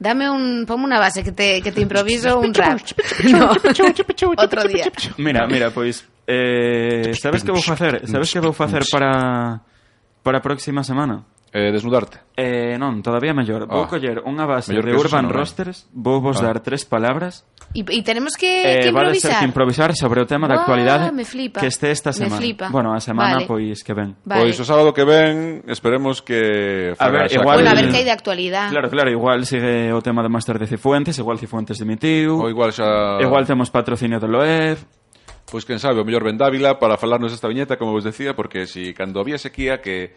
B: Dame un... Ponme una base que te, que te improviso un rap. No. Otro día.
C: Mira, mira, pois, eh, sabes que vou facer? Sabes que vou facer para para a próxima semana?
A: Eh, desnudarte.
C: Eh, non, todavía mellor. Vou
A: Ah.
C: coller unha base
A: Mellor
C: de
A: que eso xa
C: Urban
A: non hai.
C: Rosters, vou vos
A: Ah.
C: dar tres palabras
B: Y, y tenemos que, que
C: Eh, vale ser
B: improvisar.
C: que improvisar sobre o tema da
B: Guau,
C: actualidade
B: me flipa.
C: que este esta
B: Me
C: semana.
B: flipa.
C: Bueno, a semana
B: Vale.
C: pois que ven.
B: Vale.
A: Pois o sábado que ven, esperemos que...
C: A ver,
A: faga esa
C: igual-
B: Bueno, a ver
C: eh,
B: qué hay de actualidad.
C: Claro, claro, igual sigue o tema de máster de Cifuentes, igual Cifuentes dimitiu.
A: Ou igual xa...
C: Igual temos patrocinio do Loef.
A: Pois quen sabe, o mellor ben Dávila para falarnos desta viñeta, como vos decía, porque si cando había sequía que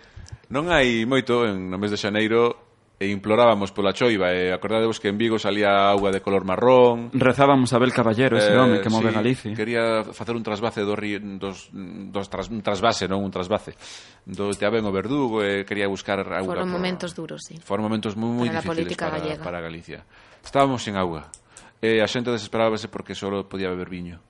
A: non hai moito en no mes de xaneiro e implorábamos pola choiva e acordadevos que en Vigo salía auga de color marrón
C: Rezábamos a Abel Caballero, ese
A: eh,
C: home que move
A: sí,
C: Galicia.
A: Quería facer un trasvase do río dos, dos tras, un trasvase, non un trasvase do Teaben o Verdugo e quería buscar auga
B: Foron
A: por-
B: momentos duros, sí.
A: Foron momentos moi moi
B: Para a
A: difíciles
B: política
A: para,
B: gallega.
A: para Galicia. Estábamos sen auga. E a xente desesperábase porque só podía beber viño.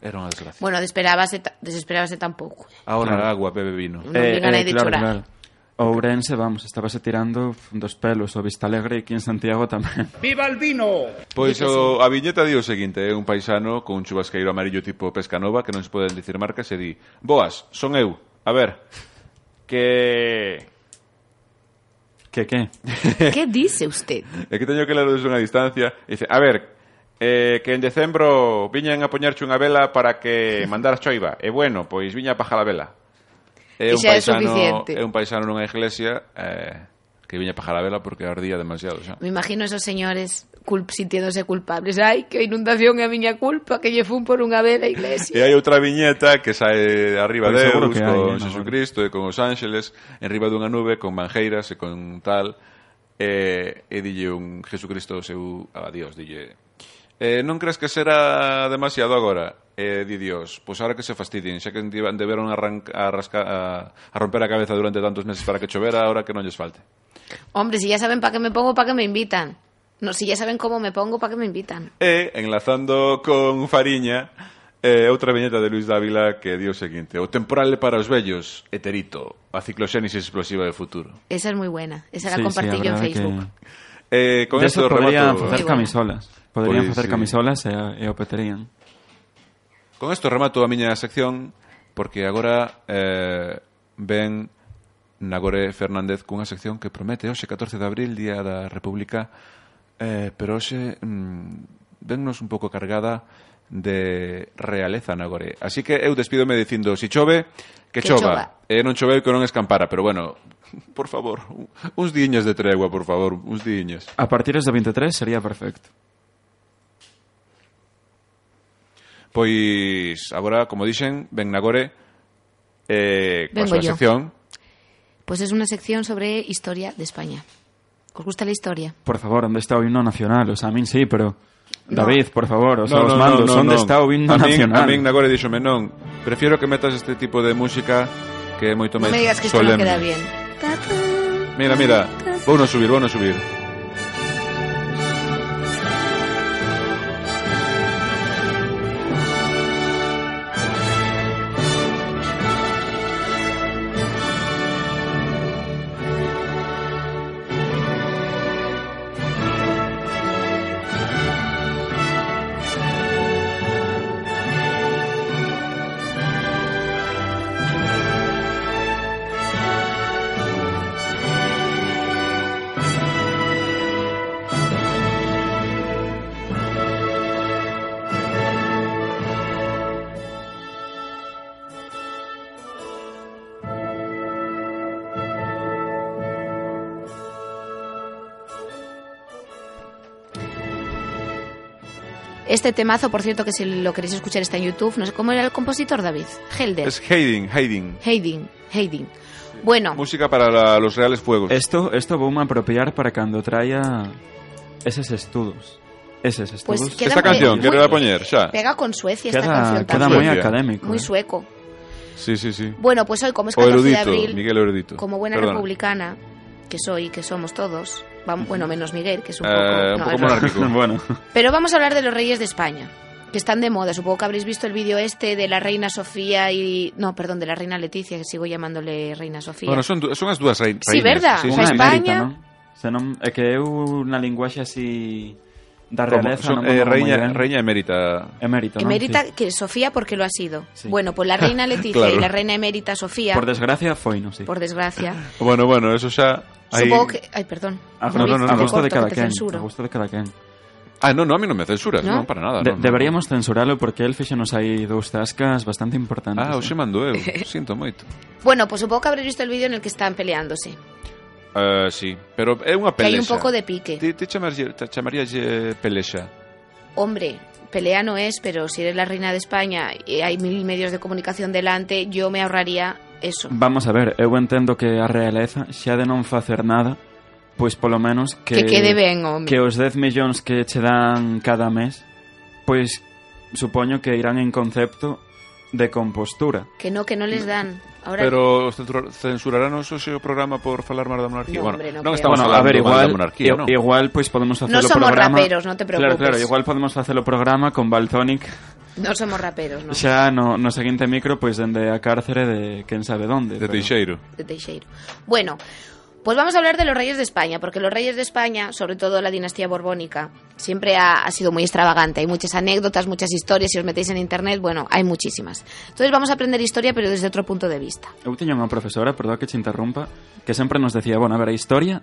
A: Era unha desgracia.
B: Bueno, desesperábase, ta- desesperábase tampouco.
A: Ahora
C: Claro.
A: agua, bebe vino.
B: non
C: Eh,
B: digan aí de chorar.
C: Ourense, vamos, estábase tirando dos pelos o Vista Alegre aquí en Santiago tamén.
E: ¡Viva el vino!
A: Pois o, a viñeta di o seguinte, é un paisano con un chubasqueiro amarillo tipo Pescanova que non se poden dicir marcas e di Boas, son eu. A ver, que...
C: Que que?
B: ¿Qué dice usted?
A: É que teño que ler desde unha distancia. E dice, a ver, eh, que en decembro viñan a poñerche unha vela para que mandar choiva. E bueno, pois viña a pajar a vela.
B: E xa é suficiente.
A: É un paisano nunha iglesia eh, que viña a pajar a vela porque ardía demasiado xa.
B: Me imagino esos señores cul sintiéndose culpables. Ai, que inundación é a miña culpa, que lle fun por unha vez
A: E
B: a iglesia.
A: hai outra viñeta que sae de arriba
C: Pois
A: de
C: seguro
A: Deus
C: que hai,
A: con
C: eh,
A: Jesucristo e con os ángeles en riba dunha nube con manjeiras e con tal e, e dille un Jesucristo ao seu a Dios dille eh, non crees que será demasiado agora? E di Dios, pois agora que se fastidien, xa que divan- deberon arranca, a, rasca, a, a romper a cabeza durante tantos meses para que chovera, agora que non lles falte.
B: Hombre, si ya saben para qué me pongo, para qué me invitan. No, si ya saben cómo me pongo, para qué me invitan.
A: E, enlazando con Fariña, eh, outra viñeta de Luis Dávila que dio o seguinte. O temporal é para os vellos, heterito, a cicloxénese explosiva do futuro.
B: Esa es muy buena. Esa la
C: Sí, sí,
B: compartí yo en
C: a verdade que-
B: Facebook.
A: Eh, con
C: de
A: esto
C: eso podrían
A: remato,
B: Moi
C: facer
B: bueno.
C: camisolas. Podrían
A: Pois,
C: facer
A: sí.
C: camisolas e, e o peterían.
A: con esto remato a miña sección porque agora eh, ven Nagore Fernández cunha sección que promete hoxe 14 de abril, Día da República, eh, pero hoxe mm, vennos un pouco cargada de realeza Nagore. Así que eu despídome dicindo, si chove, que,
B: Que
A: chova. E non choveu que non escampara, pero bueno, por favor, un- uns diñas de tregua, por favor, uns diñas.
C: A partir do 23 sería perfecto.
A: Pois agora, como dixen, ven Nagore eh, coa
B: Vengo
A: súa
B: yo.
A: sección.
B: Pues es una sección sobre historia de España. ¿Os gusta la historia?
C: Por favor, onde está o himno nacional? O sea, a min sí, pero...
B: No.
C: David, por favor, os, no, os mandos, onde está o himno
A: a min,
C: nacional?
A: A min Nagore dixome non. Prefiero que metas este tipo de música que é moito
B: No
A: máis
B: me digas que esto no
A: solemne.
B: queda bien.
A: Mira, mira, vou non subir, vou non subir.
B: Este temazo, por cierto, que si lo queréis escuchar está en YouTube. No sé cómo era el compositor, David. Helder.
A: Es Haydn, Haydn.
B: Haydn. Haydn. Bueno,
A: Música para la, los reales fuegos.
C: Esto, esto voume apropiar para cando traia eses estudos. Eses
B: Pues
C: estudos.
B: queda
A: Esta
B: muy-
A: canción,
B: muy-
A: quero la poñer, xa.
B: pega con Suecia esta
C: queda,
B: canción
C: queda
B: también.
C: moi
A: Suecia.
C: académico.
B: Muy
C: eh.
B: sueco.
A: Sí, sí, sí.
B: Bueno, pues hoy, como es
A: O
B: 14 de
A: erudito,
B: abril,
A: Miguel Erudito.
B: como buena
A: Perdona.
B: republicana que soy, que somos todos, vam- bueno, menos Miguel, que es un poco...
A: Eh, un
B: no,
A: poco
B: es-
A: monárquico.
C: bueno,
B: Pero vamos a hablar de los reyes de España, que están de moda. Supongo que habréis visto el vídeo este de la reina Sofía y... No, perdón, de la reina Leticia, que sigo llamándole reina Sofía.
A: Bueno, son, du- son as dúas rein,
B: Sí,
A: reinas.
B: verdad.
A: Sí,
B: Fa
A: sí,
C: unha
A: sí.
B: Ah, España.
C: emérita, non? Se non, é que eu na linguaxe así da
A: Como,
C: realeza
A: son,
C: non
A: eh,
C: me moi
A: reiña,
C: ben.
A: reiña emérita.
C: Emérita, non?
B: Emérita,
C: Sí.
B: que Sofía porque lo ha sido.
C: Sí.
B: Bueno, pues la reina Leticia
A: Claro.
B: y la reina emérita Sofía, por,
C: Por desgracia foi, non, sí.
B: desgracia,
A: Bueno, bueno, eso xa... aí-
B: supongo que... Ay, perdón.
C: A,
A: No, no, no,
C: a
A: no.
C: gusto
B: Corto,
C: de
B: que
C: cada
B: te
C: quen.
B: censuro.
C: A gusto de cada quen.
A: Ah, no, no, a mí no me censuras, no,
B: ¿No?
A: para nada.
C: De-
A: Ah, no, no.
C: deberíamos censurarlo porque el fixo nos hai dous tascas bastante importantes.
A: Ah, hoxe mandou eu, sinto moito.
B: Bueno, pues supongo que habréis visto el vídeo en el que están peleándose.
A: Eh, sí, pero é unha
B: Que
A: pelexa.
B: hay un pouco de pique.
A: Ti, ti chamarías, te chamarías pelexa.
B: Hombre, pelea no es, pero si eres la reina de España y hay mil medios de comunicación delante, yo me ahorraría eso.
C: Vamos a ver, eu entendo que a realeza xa de non facer nada, pois polo menos que...
B: Que quede ben, hombre.
C: Que os 10 millóns que che dan cada mes, pois supoño que irán en concepto de compostura.
B: Que no, que no les dan. Ahora
A: Pero censurar, censurarán o seu programa por falar mal da monarquía?
B: No,
A: bueno,
B: hombre, no
A: non
B: creo.
A: estamos
C: bueno, a
A: falando
C: ver,
A: mal
C: igual,
A: da monarquía,
C: i-
A: non?
C: igual pois podemos facer
B: No
C: o
B: somos
C: programa...
B: raperos, non te preocupes.
C: Claro, claro, igual podemos facer o programa con Baltonic
B: no somos raperos, ¿no?
C: xa no, no seguinte micro, pois dende a cárcere de quen sabe onde.
A: De Teixeiro.
B: de Teixeiro. Bueno, pues vamos a hablar de los reyes de España, porque los reyes de España, sobre todo la dinastía borbónica, siempre ha, ha sido muy extravagante. Hay muchas anécdotas, muchas historias, si os metéis en internet, bueno, hay muchísimas. Entonces vamos a aprender historia, pero desde otro punto de vista.
C: Eu tiña unha profesora, perdón que che interrumpa, que sempre nos decía, bueno, a ver, a historia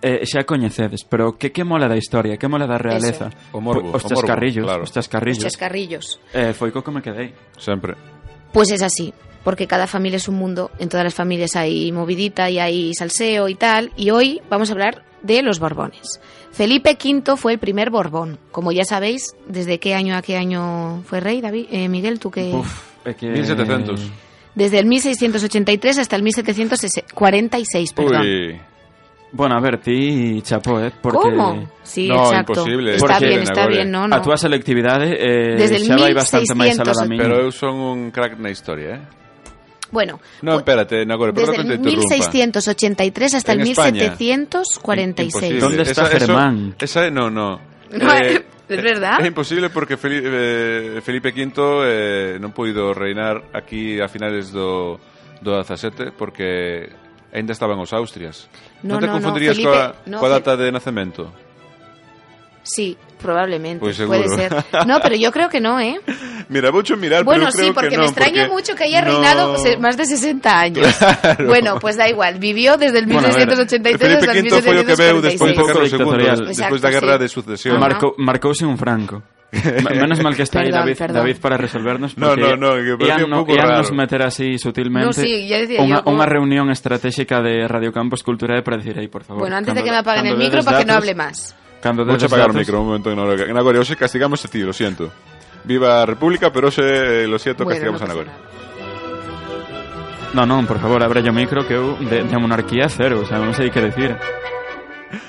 C: eh, xa a coñecedes, pero que que mola da historia, que mola da realeza?
A: O morbo, o
C: Os
A: morbo,
C: chascarrillos,
A: claro.
C: os chascarrillos.
B: Chascarrillos.
C: Eh, foi co que me quedei.
A: Sempre.
B: Pues es así, porque cada familia es un mundo, en todas las familias hay movidita y hay salseo y tal, y hoy vamos a hablar de los Borbones. Felipe V fue el primer Borbón, como ya sabéis, desde qué año a qué año fue rey, David, Eh, Miguel, tú que...
C: Uf, é que...
A: 1700.
B: Desde el 1683 hasta el 1746, perdón.
A: Uy.
C: Bueno, a ver, ti chapó, eh, porque...
B: ¿Cómo? Sí,
A: No,
B: exacto.
A: imposible.
B: Está
C: Porque-
B: bien,
A: Elena,
B: está
A: Ah,
B: bien, no, no.
C: A túa selectividade eh,
B: Desde el
C: xa vai bastante máis alá da
B: 1600,
C: miña.
A: Pero eu son un crack na historia, eh?
B: Bueno,
A: No,
B: pues,
A: espérate, Nagore,
B: desde
A: perdón que te
B: el
A: interrumpa.
B: 1683 hasta
A: En
B: el
A: España.
B: 1746.
A: Imposible.
C: ¿Dónde está
A: Esa- eso-
C: Germán?
A: esa, no, no. Eh,
B: No, es verdad.
A: Es imposible porque Felipe, eh, Felipe V eh, non puido reinar aquí a finales do, do 17 porque ainda estaban os Austrias.
B: No,
A: non te
B: no, no,
A: confundirías
B: Felipe-
A: coa,
B: no,
A: coa
B: Fe-
A: data de nacemento?
B: Sí, probablemente.
A: Pues seguro.
B: puede ser. No, pero yo creo que no, ¿eh?
A: Mira, mucho mirar,
B: Bueno,
A: pero creo
B: sí, porque
A: que
B: me
A: non,
B: extraña
A: porque
B: mucho que haya
A: no-
B: reinado se- más de 60 años.
A: Claro.
B: Bueno, pues da igual. Vivió desde el
C: Bueno, a ver,
B: 1683
A: Felipe
B: hasta el
A: V foi o que veu despois de e
C: Un pouco
A: Carlos II,
B: 1646.
C: dictatorial.
A: despois da
B: e Exacto,
A: guerra
B: sí.
A: de sucesión.
B: Marco-
C: Marcou, marcouse un franco. Me- Menos mal que está aí
B: Perdón,
C: David,
B: perdón.
C: David para resolvernos
A: No,
C: porque
A: no, no, que parecía
C: ian
A: un
C: no-
A: pouco
C: ian nos
A: raro.
C: meter así sutilmente
B: No, sí, ya decía yo,
C: unha,
B: como-
C: unha reunión estratégica de Radio Campos Cultural para decir aí, por favor.
B: Bueno, antes de
C: cando-
B: que me apaguen
C: cando
B: el micro
C: dedes
B: para que no
C: datos-
B: hable más.
C: Cando
A: Vamos a
C: dedes
A: apagar o
C: datos-
A: micro un momento. No, Nagore, hoxe castigamos a ti, lo siento. Viva a República, pero hoxe, eh, lo siento,
B: Bueno,
A: castigamos a
B: no pasa
A: Nagore.
B: nada.
C: No, non, por favor, abre o micro que eu de, de monarquía cero, o sea, non sei que decir.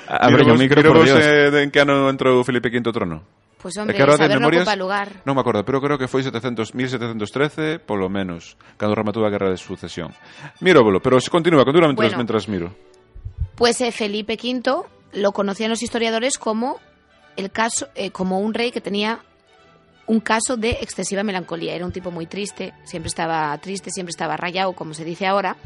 C: Abre o
A: Miramos-
C: micro, por
A: miramos,
C: Dios.
A: eh, de en que ano entrou Felipe V trono?
B: Pues
A: É
B: hombre,
A: que ahora de
B: saber no
A: memorias-
B: ocupa lugar.
A: Non me acordo, pero creo que foi 700, 1713, polo menos, cando rematou a guerra de sucesión. Miro, bolo, pero se continúa, continúa mentras,
B: Bueno.
A: mentras miro.
B: Pues eh, Felipe V lo conocían los historiadores como el caso, eh, como un rey que tenía un caso de excesiva melancolía. Era un tipo muy triste, siempre estaba triste, siempre estaba rayado, como se dice ahora,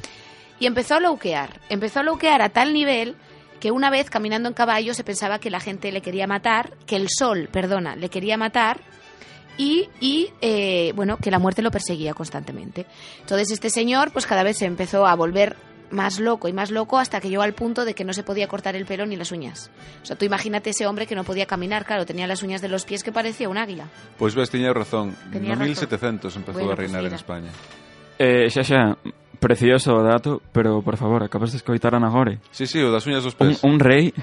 B: y empezó a louquear. Empezó a louquear a tal nivel que una vez caminando en caballo se pensaba que la gente le quería matar, que el sol, perdona, le quería matar y, y, eh, bueno, que la muerte lo perseguía constantemente. Entonces este señor pues cada vez se empezó a volver más loco y más loco hasta que llegó al punto de que no se podía cortar el pelo ni las uñas. O sea, tú imagínate ese hombre que no podía caminar, claro, tenía las uñas de los pies que parecía un águila.
A: Pois Pues ves, tiña razón,
B: Tenía
A: no
B: razón.
A: 1700 empezou
B: Bueno,
A: a reinar en
B: pues mira.
A: España.
C: Eh, xa xa, precioso o dato, pero por favor, acabas de escoitar a Nagore.
A: Sí, sí, o das uñas dos
C: Un,
A: pés.
C: un rey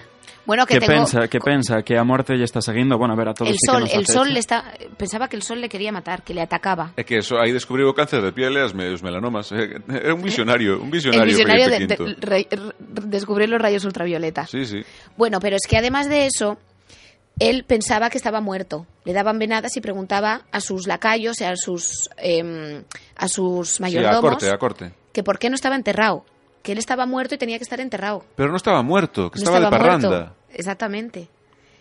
B: Bueno, que,
C: que
B: tengo-
C: pensa que pensa que a morte lle está seguindo, bueno, a ver a todos
B: el
A: este
C: sí
B: sol,
C: que nos
B: el sol
C: acecha.
B: le está pensaba que el sol le quería matar, que le atacaba.
A: É que eso, aí descubriu o cáncer de piel e as, me- os melanomas. eh, Era un visionario, un visionario,
B: El visionario de,
A: Felipe V.
B: de- re- re- descubrir los rayos ultravioleta.
A: Sí, sí.
B: Bueno, pero es que además de eso, él pensaba que estaba muerto. Le daban venadas y preguntaba a sus lacayos y a sus, em, a
A: Sí,
B: sus
A: a
B: mayordomos
A: corte, a corte.
B: que por qué no estaba enterrado. Que él estaba muerto y tenía que estar enterrado.
A: Pero no estaba muerto, que
B: No
A: estaba, de parranda.
B: muerto. Exactamente.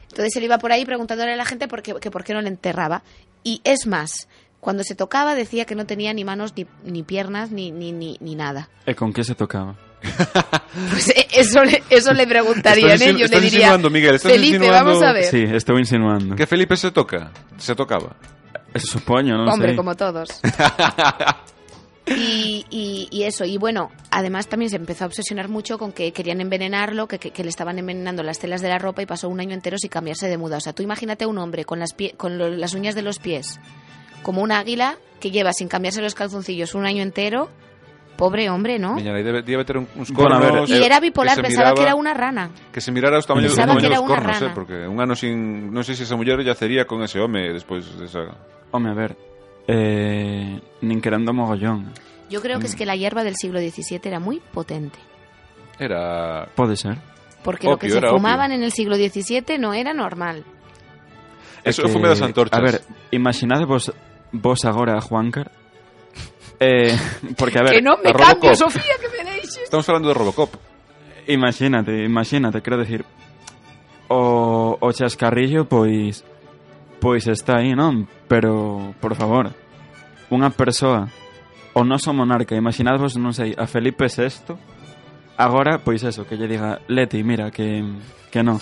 B: Entonces él iba por ahí preguntándole a la gente por qué, que por qué no le enterraba. Y es más, cuando se tocaba decía que no tenía ni manos, ni, ni piernas, ni, ni, ni, ni nada.
C: E con que se tocaba?
B: Pues eh, eso le, eso le preguntarían,
A: Estás
B: ¿eh?
A: insinu-
B: Yo le
A: estás
B: diría,
A: insinuando, Miguel, estás
B: Felipe,
A: insinuando-
B: vamos a ver.
C: Sí, estou insinuando.
A: Que Felipe se toca, se tocaba.
C: Supoño, non
B: Hombre,
C: sei.
B: como todos. Y, y- y eso, y bueno, además también se empezó a obsesionar mucho con que querían envenenarlo, que, que- que le estaban envenenando las telas de la ropa y pasó un año entero sin cambiarse de muda. O sea, tú imagínate a un hombre con las, pie- con lo- las uñas de los pies, como un águila que lleva sin cambiarse los calzoncillos un año entero. Pobre hombre, ¿no?
A: Miña, aí debe, debe ter un, uns
C: Bueno, a
A: cornos...
C: ver,
B: Y
A: eh,
B: era
A: que
B: bipolar,
A: se
B: pensaba que
A: miraba-
B: era una rana.
A: Que se mirara os tamaños, os
B: Pensaba
A: tamaños
B: que era
A: dos
B: unha
A: cornos, eh,
B: rana.
A: porque un ano sin... Non sei se esa muller yacería con ese home despois desa...
C: Home, a ver. Eh, nin querendo mogollón.
B: Yo creo que
A: Mm.
B: es que la hierba del siglo XVII era muy potente.
A: Era...
C: Pode ser.
B: Porque lo
A: Opio,
B: que se
A: era opio.
B: fumaban en el siglo XVII no era normal.
A: Eso
C: É que-
A: fume das antorchas.
C: Eh, A ver, imaginade vos, vos agora a Juancar. Eh, porque, a
B: que
C: ver,
B: no me
A: a
B: cambio,
A: Robocop.
B: Sofía, que me deis.
A: Estamos falando de Robocop.
C: imagínate, imagínate, quero decir, o, o chascarrillo, pois, pois está aí, non? Pero, por favor, unha persoa, o noso monarca, imaginadvos, non sei, a Felipe VI, agora, pois eso, que lle diga, Leti, mira, que, que no.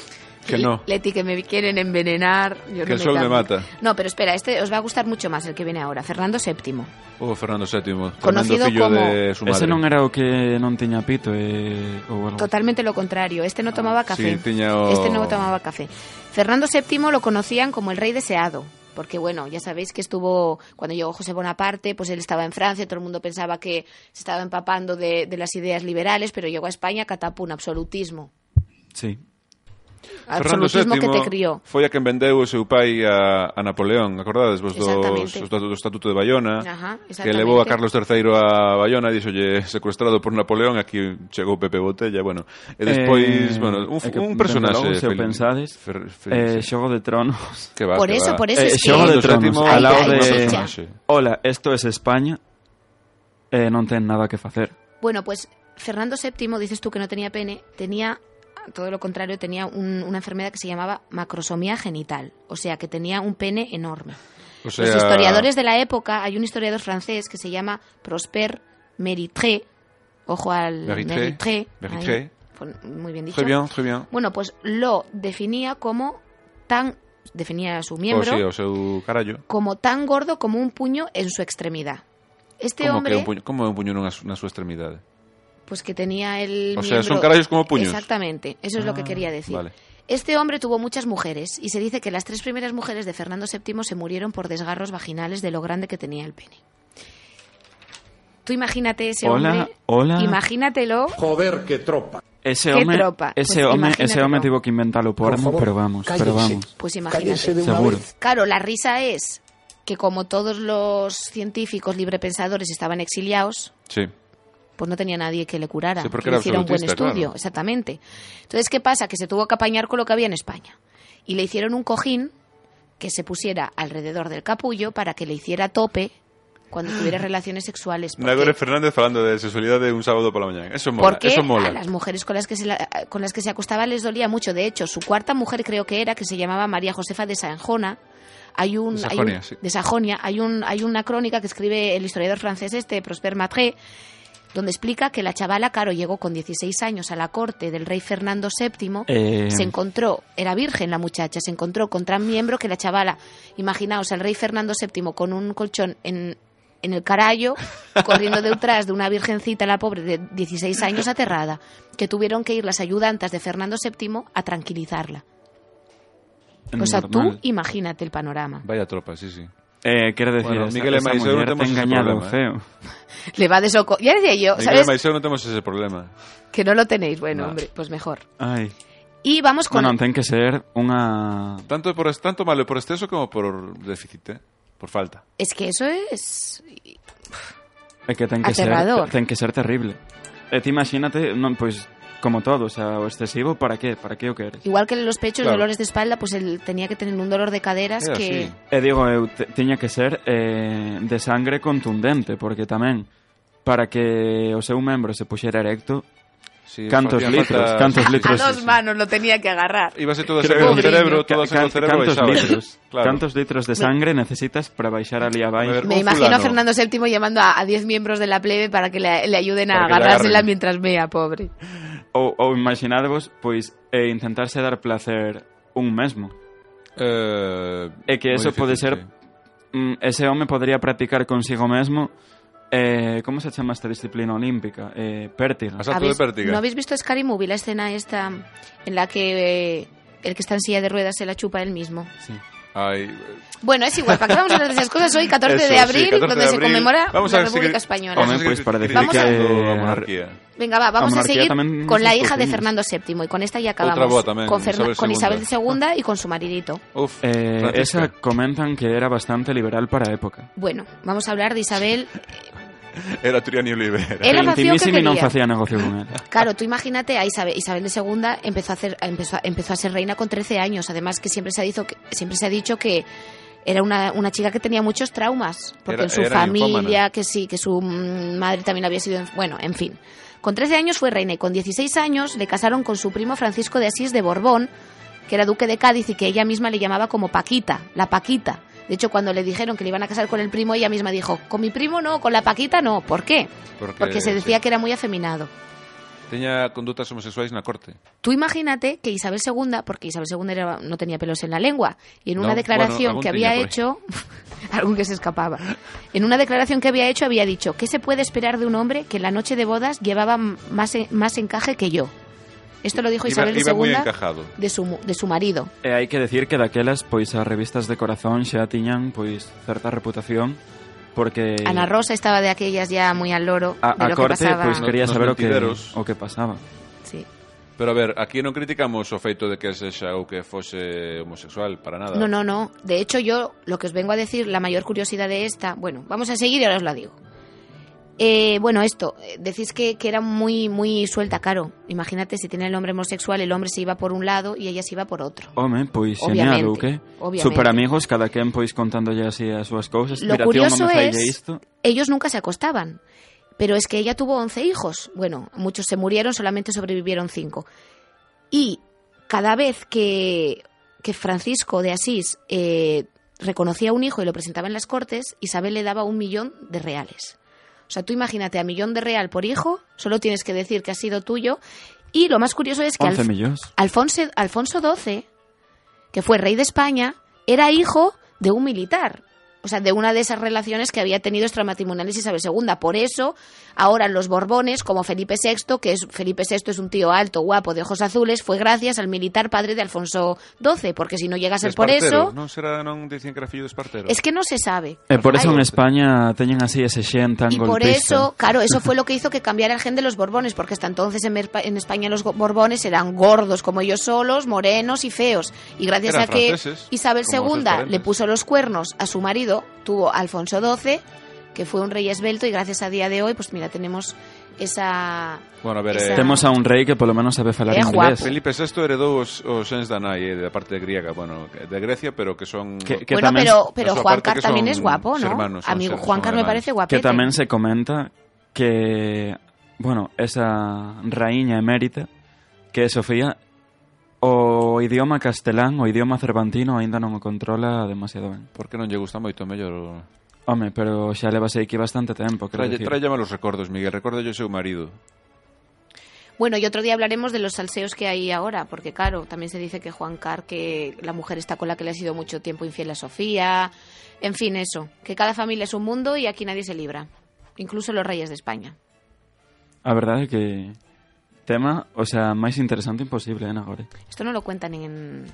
A: Que no.
B: Leti, que me quieren envenenar. Yo
A: Que
B: no
A: el sol me
B: cambio.
A: mata.
B: No, pero espera, este os va a gustar mucho más el que viene ahora. Fernando VII.
A: O Oh, Fernando VII, tremendo
B: Conocido
A: fillo
B: como-
A: de su madre.
C: Ese non era o que non tiña pito, eh, ou algo.
B: Totalmente lo contrario. Este no tomaba café.
A: Ah, sí, tiña o-
B: Este no tomaba café. Fernando VII lo conocían como el rey deseado. Porque bueno, ya sabéis que estuvo, cuando llegó José Bonaparte, pues él estaba en Francia, todo el mundo pensaba que se estaba empapando de, de las ideas liberales, pero llegó a España catapum, absolutismo.
C: Sí.
A: Fernando
B: Absolutismo que te
A: VII
B: crió.
A: Foi a quen vendeu o seu pai a, a Napoleón, acordades vos dos,
B: Exactamente.
A: os datos do Estatuto de Bayona,
B: Ajá,
A: Ah, que
B: exactamente.
A: levou a Carlos III a Bayona e dixolle secuestrado por Napoleón, aquí chegou Pepe Botella, bueno, e despois,
C: Eh,
A: bueno, un,
C: é que,
A: un
C: dende
A: personaxe
C: logo, se o
A: Fel-
C: pensades,
A: Fer- Fel-
C: Eh, Xogo de Tronos.
A: que va,
B: Por
A: que va.
B: eso, por eso
C: Eh,
B: es que...
C: Xogo de
A: Fernando
C: Tronos,
A: VII,
C: ao lado
B: Ai,
C: de...
B: ai, chicha.
A: eh.
C: Ola, esto es España. Eh, non ten nada que facer.
B: Bueno, pues Fernando VII, dices tú que no tenía pene, tenía, todo lo contrario, tenía un- una enfermedad que se llamaba macrosomía genital, o sea, que tenía un pene enorme.
A: O sea,
B: Los historiadores de la época, hay un historiador francés que se llama Prosper Méritré, ojo al
A: Méritré,
B: Méritré,
A: Méritré.
B: ahí, fue muy bien dicho.
A: Très bien, très bien.
B: Bueno, pues lo definía como tan, definía a su miembro,
A: O, Oh, sí, o seu carallo.
B: como tan gordo como un puño en su extremidad. Este
A: como
B: hombre...
A: que un puño, como é un puño nunha, su- na súa extremidade?
B: Pues que tenía el.
A: O sea,
B: miembro-
A: son carayos como puños.
B: Exactamente, eso es
C: Ah,
B: lo que quería decir.
A: vale.
B: Este hombre tuvo muchas mujeres y se dice que las tres primeras mujeres de Fernando VII se murieron por desgarros vaginales de lo grande que tenía el pene. Tú imagínate ese
C: Hola,
B: hombre.
C: hola.
B: Imagínatelo.
E: Joder, qué tropa.
C: Ese
B: ¿Qué
C: home,
B: tropa?
C: ese
B: Pues
C: home,
B: imagínatelo.
C: ese home tivo que inventalo por ano, pero vamos, pero vamos.
B: Pues imagínate.
C: Seguro.
B: Claro, la risa es que como todos los científicos librepensadores estaban exiliados,
A: Sí.
B: pues no tenía nadie que le curara,
A: Sí, porque
B: que
A: era
B: le hiciera un buen
A: absolutista,
B: estudio,
A: claro.
B: exactamente. Entonces, ¿qué pasa? Que se tuvo que apañar con lo que había en España. Y le hicieron un cojín que se pusiera alrededor del capullo para que le hiciera tope cuando tuviera relaciones sexuales. porque-
A: Nagore Fernández falando de sexualidade un sábado pola mañá. Eso mola,
B: porque
A: eso mola.
B: a las mujeres con las, que se la- con las que se acostaba les dolía mucho. De hecho, su cuarta mujer creo que era, que se llamaba María Josefa de Sanjona. Hay un,
A: De
B: hay
A: Sajonia,
B: un-
A: sí.
B: de Sajonia. Hay, un, hay una crónica que escribe el historiador francés este, Prosper Matre, donde explica que la chavala, claro, llegó con 16 años a la corte del rey Fernando VII,
A: Em.
C: Eh,
B: se encontró, era virgen la muchacha, se encontró con tan miembro que la chavala, imaginaos al rey Fernando VII con un colchón en, en el carallo, corriendo detrás de una virgencita, la pobre de 16 años aterrada, que tuvieron que ir las ayudantas de Fernando VII a tranquilizarla. O sea, tú
C: normal.
B: imagínate el panorama.
A: Vaya tropa, sí, sí.
C: Eh, quero decir,
A: Bueno,
C: esa,
A: Miguel e
C: esa
A: Maiseu
C: muller
A: non
C: te
A: temos ese
C: engañado,
A: problema, eh.
C: feo.
B: Le va de soco. Ya decía yo,
A: Miguel
B: ¿sabes?
A: Maiseu non temos ese problema.
B: Que no lo tenéis. Bueno,
A: No.
B: hombre, pues mejor.
C: Ai.
B: Y vamos con...
C: Bueno, ten que ser unha...
A: Tanto por es- tanto malo por exceso como por déficit, ¿eh? por falta.
B: Es que eso es...
C: É que ten que
B: Aterrador.
C: ser, ten que ser terrible. E ti imagínate, non, pois, como todo, o sea, o excesivo, para qué? Para que o queres?
B: Igual que los pechos,
A: Claro.
B: dolores de espalda, pues él tenía que tener un dolor de caderas
A: Era
B: que...
A: así.
C: E Eh, digo, eu te, tiña que ser eh, de sangre contundente, porque tamén para que o seu membro se puxera erecto,
A: Sí,
C: Cantos
A: facía
C: litros,
A: falta-
C: cantos
A: sí,
C: litros.
A: sí, sí, sí.
B: lo tenía que agarrar.
A: Ibase todo
C: Creo
A: en el
C: que-
A: cerebro, todo en
C: can-
A: el cerebro
C: cantos
A: baixaba.
C: litros,
A: Claro.
C: cantos litros de sangre necesitas para baixar ali abaixo?
A: ver,
B: Me
A: Un
B: imagino a
A: fulano.
B: Fernando VII llamando a a 10 miembros de la plebe para que le, le ayuden a
A: Para que le
B: agarrársela
A: agarren.
B: mientras mea, pobre.
C: Ou, ou imaginadvos, pois, e intentarse dar placer un mesmo.
A: Eh,
C: É que
A: moi Eh,
C: eso
A: difícil,
C: pode ser-
A: sí.
C: Mm, ese home podría practicar consigo mesmo eh, ¿Cómo se llama esta disciplina olímpica? Eh, pértiga.
A: Asalto
B: ¿Habéis-
A: de pértiga.
B: ¿No habéis visto Scary Movie, la escena esta en la que eh, el que está en silla de ruedas se la chupa él mismo?
C: Sí.
A: Ay, eh,
B: Bueno, es igual, ¿para qué vamos a hablar de esas cosas? Hoy, 14
A: eso,
B: de
A: sí,
B: abril,
A: 14 de
B: donde se
A: abril.
B: conmemora
A: Vamos a
B: la
A: seguir-
B: República Española.
A: vamos a
C: Hombre,
A: seguir
C: pues para decir
A: criticando
C: que-
A: la monarquía.
B: Venga, va, vamos a
C: monarquía
B: seguir
C: también
B: con la
C: son
B: hija de
C: pequeñas.
B: Fernando VII y con esta ya acabamos.
A: Otra boa también,
B: con, Ferna-
A: Isabel
B: con
A: II.
B: Isabel II y con su maridito.
A: Uf,
C: Eh,
A: Francisca.
C: esa comentan que era bastante liberal para época.
B: Bueno, vamos a hablar de Isabel.
A: era Triani Oliver.
B: Era la opción que
C: Intimísimo y no
B: quería.
C: hacía negocio con él.
B: Claro, tú imagínate a Isabel, Isabel II empezó a, hacer, empezó, a- empezó a ser reina con 13 años. Además que siempre se ha, dicho que, siempre se ha dicho que era una, una chica que tenía muchos traumas. Porque
A: Era-
B: en su
A: era
B: familia,
A: ninfómana.
B: que sí, que su mm, madre también había sido... en- Bueno, en fin. Con 13 años fue reina y con 16 años le casaron con su primo Francisco de Asís de Borbón, que era duque de Cádiz y que ella misma le llamaba como Paquita, la Paquita. De hecho, cuando le dijeron que le iban a casar con el primo, ella misma dijo, con mi primo no, con la Paquita no. ¿Por qué?
A: Porque,
B: Porque se decía
A: sí,
B: que era muy afeminado.
A: Tenía conductas homosexuales en la corte.
B: Tú imagínate que Isabel II, porque Isabel II era- no tenía pelos en la lengua, y en
A: No,
B: una declaración
A: bueno, algún
B: que había
A: tenía por ahí.
B: hecho, algún que se escapaba, en una declaración que había hecho había dicho, ¿qué se puede esperar de un hombre que en la noche de bodas llevaba m- más, en- más encaje que yo? Esto lo dijo
A: Iba-
B: Pois Isabel
A: iba muy
B: II
A: encajado.
B: de su, mu- de su marido.
C: E hai que decir que daquelas, pois as revistas de corazón xa tiñan pois certa reputación porque
B: Ana Rosa estaba de aquellas ya muy al loro
C: a,
B: de
C: a
B: lo que
C: corte
B: pasaba.
C: pois
A: No-
C: quería
A: nos
C: saber o que
A: mentideros.
C: o que pasaba.
B: Sí.
A: Pero a ver, aquí non criticamos o feito de que ese xa ou que fose homosexual, para nada.
B: No, no, no. De hecho, yo lo que os vengo a decir, la mayor curiosidad de esta, bueno, vamos a seguir y ahora os la digo. Eh, bueno, esto, eh, decís que, que era muy, muy suelta, claro. Imagínate si tiene el hombre homosexual, el hombre se iba por un lado y ella se iba por otro.
C: Home, pois
B: Obviamente,
C: genial, ou que?
B: obviamente.
C: Super amigos, cada quen pois contándolle así as súas cousas.
B: Lo
C: Mira,
B: curioso
C: tío,
B: es,
C: isto.
B: ellos nunca se acostaban, pero es que ella tuvo 11 hijos. Bueno, muchos se murieron, solamente sobrevivieron 5. Y cada vez que, que Francisco de Asís eh, reconocía un hijo y lo presentaba en las cortes, Isabel le daba un millón de reales. O sea, tú imagínate, a millón de real por hijo, solo tienes que decir que ha sido tuyo. Y lo más curioso es que... al
C: 11 millóns.
B: Alfonso, Alfonso XII, que fue rey de España, era hijo de un militar. O sea, de una de esas relaciones que había tenido extramatrimoniales Isabel II. Por eso, ahora los Borbones, como Felipe VI, que es, Felipe VI es un tío alto, guapo, de ojos azules, fue gracias al militar padre de Alfonso XII, porque si no llega a ser por eso...
A: Non será, non dicen que era fillo de Espartero.
B: Es que no se sabe.
C: E por eso en
B: Ay,
C: España teñen así ese xen tan
B: Y por eso,
C: golpista.
B: claro, eso fue lo que hizo que cambiara el gen de los Borbones, porque hasta entonces en, Merpa- en España los go- Borbones eran gordos como ellos solos, morenos y feos. Y gracias
A: Eran
B: a que
A: franceses,
B: Isabel
A: como sus
B: II
A: parientes.
B: le puso los cuernos a su marido, tuvo a Alfonso XII, que fue un rey esbelto, y gracias a día de hoy, pues mira, tenemos esa...
A: Bueno, a ver,
B: Esa-
A: eh,
C: Temos a un rei que polo menos sabe falar
B: É
C: inglés.
B: guapo.
A: Felipe VI heredou os, os xens da nai, eh, da parte de griega, bueno, que- de Grecia, pero que son...
C: Que- que
B: bueno,
C: tamén-
B: pero, pero
A: eso,
B: Juan
A: aparte
B: Carlos
A: que
B: también
A: son
B: es guapo, ¿no?
A: hermanos, son
B: Amigo,
A: ser-
B: Juan
A: son
B: Carlos me
A: hermanos.
B: parece guapete.
C: Que tamén se comenta que, bueno, esa raíña emérita que é Sofía o idioma castelán, o idioma cervantino aínda non o controla demasiado ben.
A: Porque non lle gusta moito mellor o...
C: Home, pero xa levas aquí bastante tempo, quero
A: Tralle,
C: dicir.
A: tralle os recordos, Miguel, recordo o seu marido.
B: Bueno, y otro día hablaremos de los salseos que hay ahora, porque claro, también se dice que Juan Car, que la mujer está con la que le ha sido mucho tiempo infiel a Sofía, en fin, eso, que cada familia es un mundo y aquí nadie se libra, incluso los reyes de España.
C: A verdade é que tema, o sea, máis interesante imposible, eh, agora.
B: Esto no lo cuentan en,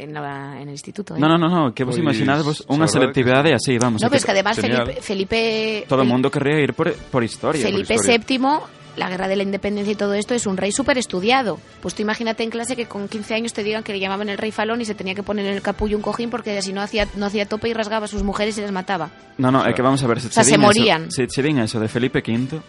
B: en, la- en el instituto. ¿eh?
C: Non, non, non, no, que vos
A: Pois,
C: imaginadevos
A: a
C: unha
A: verdade
C: selectividade así, vamos.
B: No,
C: que
B: pero es que además
A: Genial.
B: Felipe, Felipe,
C: Todo o
B: Fel-
C: mundo querría ir por, por historia.
B: Felipe
A: historia.
B: VII, la guerra de la independencia y todo esto, es un rey súper estudiado. Pues tú imagínate en clase que con 15 años te digan que le llamaban el rey falón y se tenía que poner en el capullo un cojín porque si no hacía, no hacía tope y rasgaba a sus mujeres y las mataba.
C: No, no, é que vamos a ver se
B: O sea,
C: che
B: se
C: din
B: morían.
C: Eso, se che din eso de Felipe V.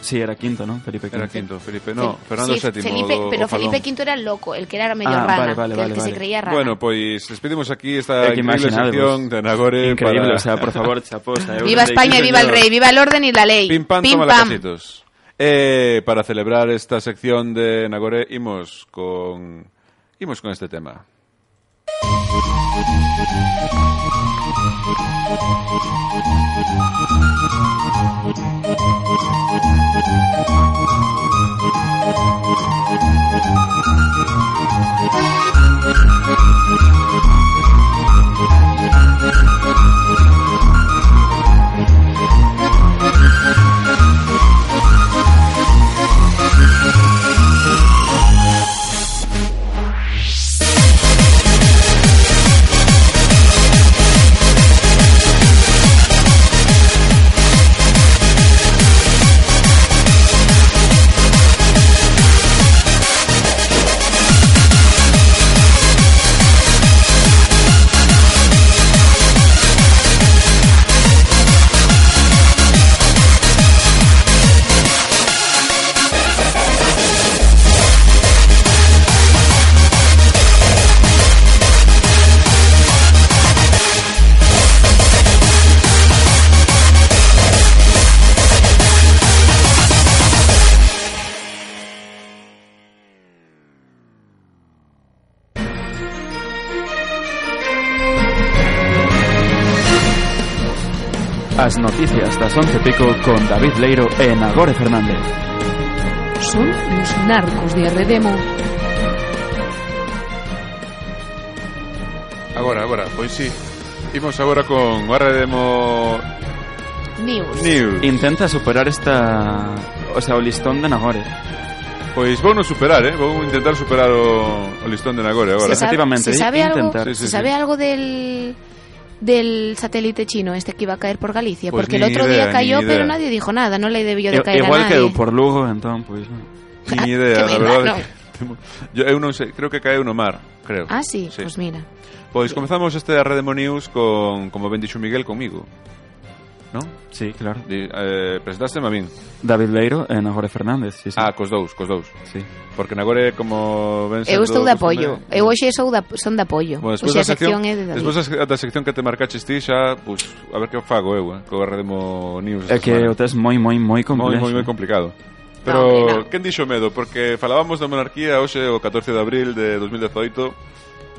C: Sí, era quinto, ¿no? Felipe V.
A: Era quinto, Felipe, no,
B: Fel-
A: Fernando
B: sí,
A: VII.
B: Felipe-
A: o- o
B: pero
A: Falón.
B: Felipe V era el loco, el que era medio
C: Ah,
B: rana,
C: vale, vale,
B: que el
C: vale,
B: que se
C: vale.
B: creía rana.
A: Bueno, pois despedimos aquí esta
C: É que
A: increíble
C: imaginadevos.
A: sección de Anagore
C: Increíble,
A: Eh, para...
C: o sea, por favor, chapos.
A: pues,
B: viva España, viva el rey, viva el orden y la ley.
A: Pim pam, toma lacasitos. Eh, para celebrar esta sección de Nagore, imos con imos con este tema.
I: Thank
C: As noticias das 11 pico con David Leiro e Nagore Fernández.
I: Son los narcos de Redemo.
A: Agora, agora, pois sí. Imos agora con o Arredemo
B: News.
A: News.
C: Intenta superar esta... O sea, o listón de Nagore.
A: Pois vou non superar, eh? Vou intentar superar o, o listón de Nagore agora.
B: ¿Se sabe,
C: efectivamente,
B: se sabe algo,
C: intentar.
A: Sí, sí,
B: se
A: sí.
B: sabe algo del, del satélite chino este que iba a caer por Galicia?
A: Pues
B: Porque el
A: ni
B: otro
A: idea,
B: día cayó,
A: ni idea.
B: pero nadie dijo nada. No le debió de
C: E-
B: caer
C: Igual
B: a nadie.
C: quedou por Lugo, entón, pois... non.
A: Ni idea,
B: que
A: la
B: me
A: verdade.
B: van,
A: No. Yo, eu non sei, creo que caeu no mar, creo.
B: Ah, sí, pues mira.
A: Pois comezamos este Arredemo News con, como ben dixo Miguel, comigo. Non?
C: Sí, claro.
A: Di, eh, presentaste a min.
C: David Leiro e Nagore Fernández, sí, sí.
A: Ah, cos dous, cos dous.
C: sí.
A: Porque Nagore, como ben
B: Eu
A: sendo
B: estou de
A: costume-
B: apoio. Eu hoxe sou da, son de apoio.
A: Bueno, despois da
B: hoxe a sección
A: sección,
B: é de David.
A: despois da- da sección que te marcaches ti xa, pues, a ver que fago eu, eh, co Arredemo News.
C: É
A: esta
C: que
A: semana.
C: o test moi, moi, moi
A: moi,
C: complexo.
A: moi, moi complicado. Pero,
B: No, hombre, no.
A: quen dixo medo? Porque falábamos da monarquía hoxe o 14 de abril de 2018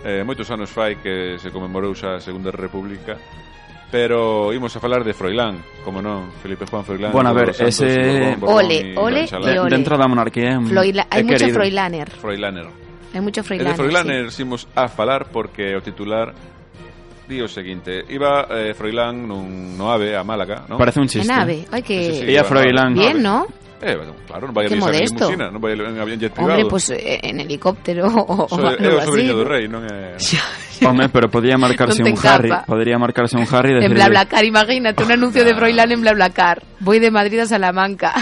A: eh, Moitos anos fai que se conmemorou xa a Segunda República Pero imos a falar de Froilán, como non, Felipe Juan Froilán
C: Bueno, a ver,
A: Santos,
C: ese-
A: Borbón, Borbón
B: Ole,
A: y Gran
B: ole y
A: Chalán.
B: ole.
C: Dentro da monarquía é un-
B: Froila-
C: é
B: Hai mucho
C: querido.
B: Froilaner.
A: Froilaner
B: Hai mucho
A: E de
B: Froilaner.
A: Froilán sí. imos a falar porque o titular di o seguinte Iba eh, Froilán nun, no ave a Málaga, non?
C: Parece un
B: sí.
C: chiste.
B: En ave. Ai, que...
A: Sí, sí, sí,
C: E a
A: iba
C: Froilán.
B: Bien,
A: Ave.
B: ¿no?
A: Eh, bueno, claro, non vai a
B: Qué
A: en
B: modesto.
A: limusina, non vai en avión jet privado
B: Hombre, pues eh, en helicóptero o, o
A: So, é
B: algo
A: o sobrinho do
B: así.
A: rei, non é...
C: Home, pero podía marcarse
B: Non te
C: un Harry.
B: encapa.
C: Podría marcarse un Harry
B: En
C: e decirle,
B: BlaBlaCar, imagínate, un anuncio de
A: no.
B: Froilán en BlaBlaCar. Voy de Madrid a Salamanca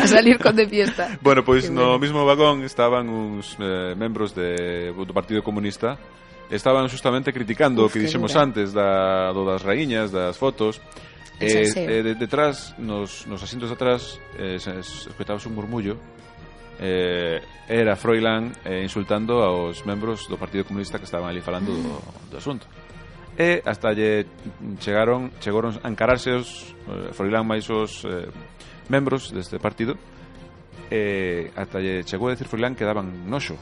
B: a salir con de fiesta.
A: Bueno, pois
B: Qué
A: no
B: bueno.
A: mismo vagón estaban uns eh, membros de, do Partido Comunista Estaban justamente criticando o
B: Uf,
A: que
B: que
A: dixemos
B: dura.
A: antes da, do das raíñas, das fotos
B: El
A: Eh,
B: salseo.
A: eh, de, detrás, nos, nos asientos de atrás, eh, se es- escoitaba un murmullo eh, Era Froilán eh, insultando aos membros do Partido Comunista que estaban ali falando do, do asunto E hasta lle chegaron, chegaron a encararse os eh, Froilán máis os eh, membros deste partido eh, Hasta lle chegou a decir Froilán que daban noxo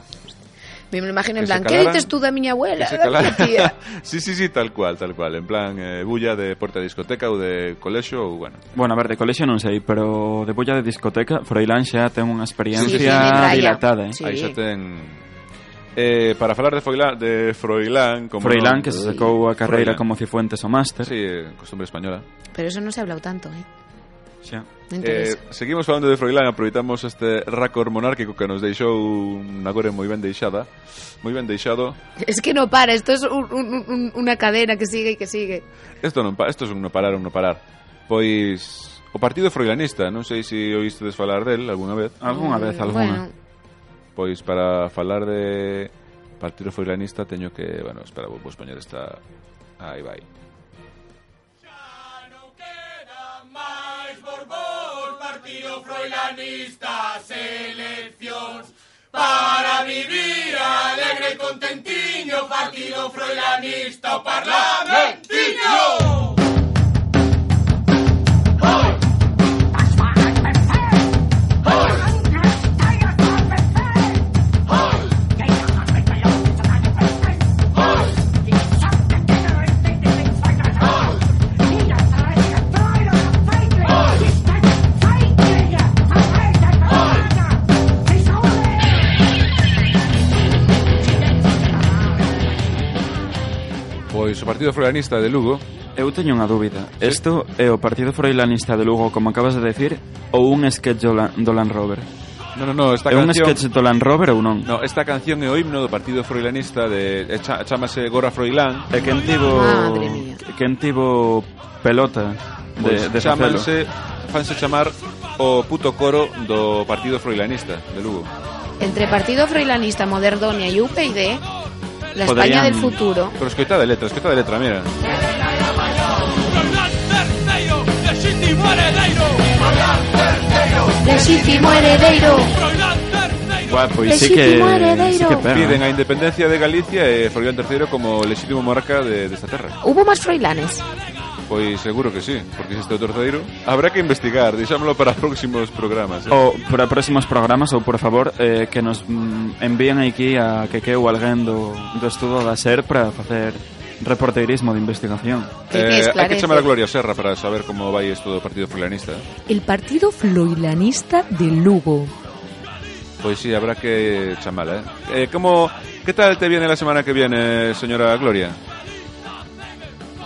B: Me lo imagino en
A: Que se
B: plan, ¿qué
A: calaran-
B: dices tú de mi abuela?
A: Que se
B: Da
A: calara.
B: tu tía?"
A: sí, sí, sí, tal cual, tal cual En plan, eh, bulla de porta de discoteca ou de colexo ou bueno
C: Bueno, a ver, de colexio non sei, pero de bulla de discoteca, Froilán xa ten unha
A: Sí, sí,
C: experiencia
A: sí,
C: dilatada, eh.
B: Sí.
A: Aí xa ten eh, Para falar de Froilán, de Froilán como
C: Froilán,
A: non-
C: que se sacou a
A: Froilán.
C: carreira como Cifuentes o máster.
A: Sí, eh, costumbre española
B: Pero eso no se ha hablado tanto, ¿eh?
C: Xa.
B: No
A: eh,
B: interesa.
A: Seguimos falando de Froilán Aproveitamos este récord monárquico Que nos deixou unha gore moi ben deixada Moi ben deixado
B: Es que no para, esto es un- un- un- una cadena que sigue y que sigue.
A: Isto non pa, isto é un no parar, un no parar Pois O partido froilanista, non sei se oístedes falar del algunha vez
C: Algunha vez,
B: Mm,
C: alguna.
B: Bueno,
A: Pois para falar de Partido Froilanista teño que, bueno, espera, vou, vou poñer esta Aí vai Pois o Partido Froilanista de Lugo
C: Eu teño unha dúbida. Isto é o Partido Froilanista de Lugo, como acabas de decir, ou un sketch do, Lan- do Land Rover?
A: No, no, no, esta
C: É un
A: canción
C: sketch do Land Rover ou non?
A: No, esta canción é o himno do Partido Froilanista de e cha- Chámase Gora Froilán
C: É quen tivo...
B: Madre mía.
C: Quen tivo pelota de,
A: Pois
C: de facelo?
A: chamanse, fanse chamar o puto coro do Partido Froilanista de Lugo
B: entre Partido Freilanista, Moderdonia y UPyD, la España
C: Podrían-
B: del futuro.
A: Pero escoita de letra, escoita de letra, mira
B: Legítimo heredero.
C: Buah, pois sí que,
B: Lexítimo heredeiro.
C: sí que pega.
A: Piden a independencia de Galicia e Froilán III como lexítimo monarca de, desta terra
B: Hubo más Freilanes.
A: Pois seguro que sí, porque existe o terceiro Habrá que investigar, deixámoslo para próximos programas eh.
C: O para próximos programas ou por favor eh, que nos mm, envíen aquí a que queu alguén do, do estudo da SER para facer reporterismo de investigación.
B: Que te
A: hay Eh, que
B: esclarece.
A: llamar a Gloria Serra para saber cómo va esto del Partido Fulanista.
I: El Partido Floilanista de Lugo.
A: Pues sí, habrá que chamala, ¿eh? Eh, ¿cómo, ¿Qué tal te viene la semana que viene, señora Gloria?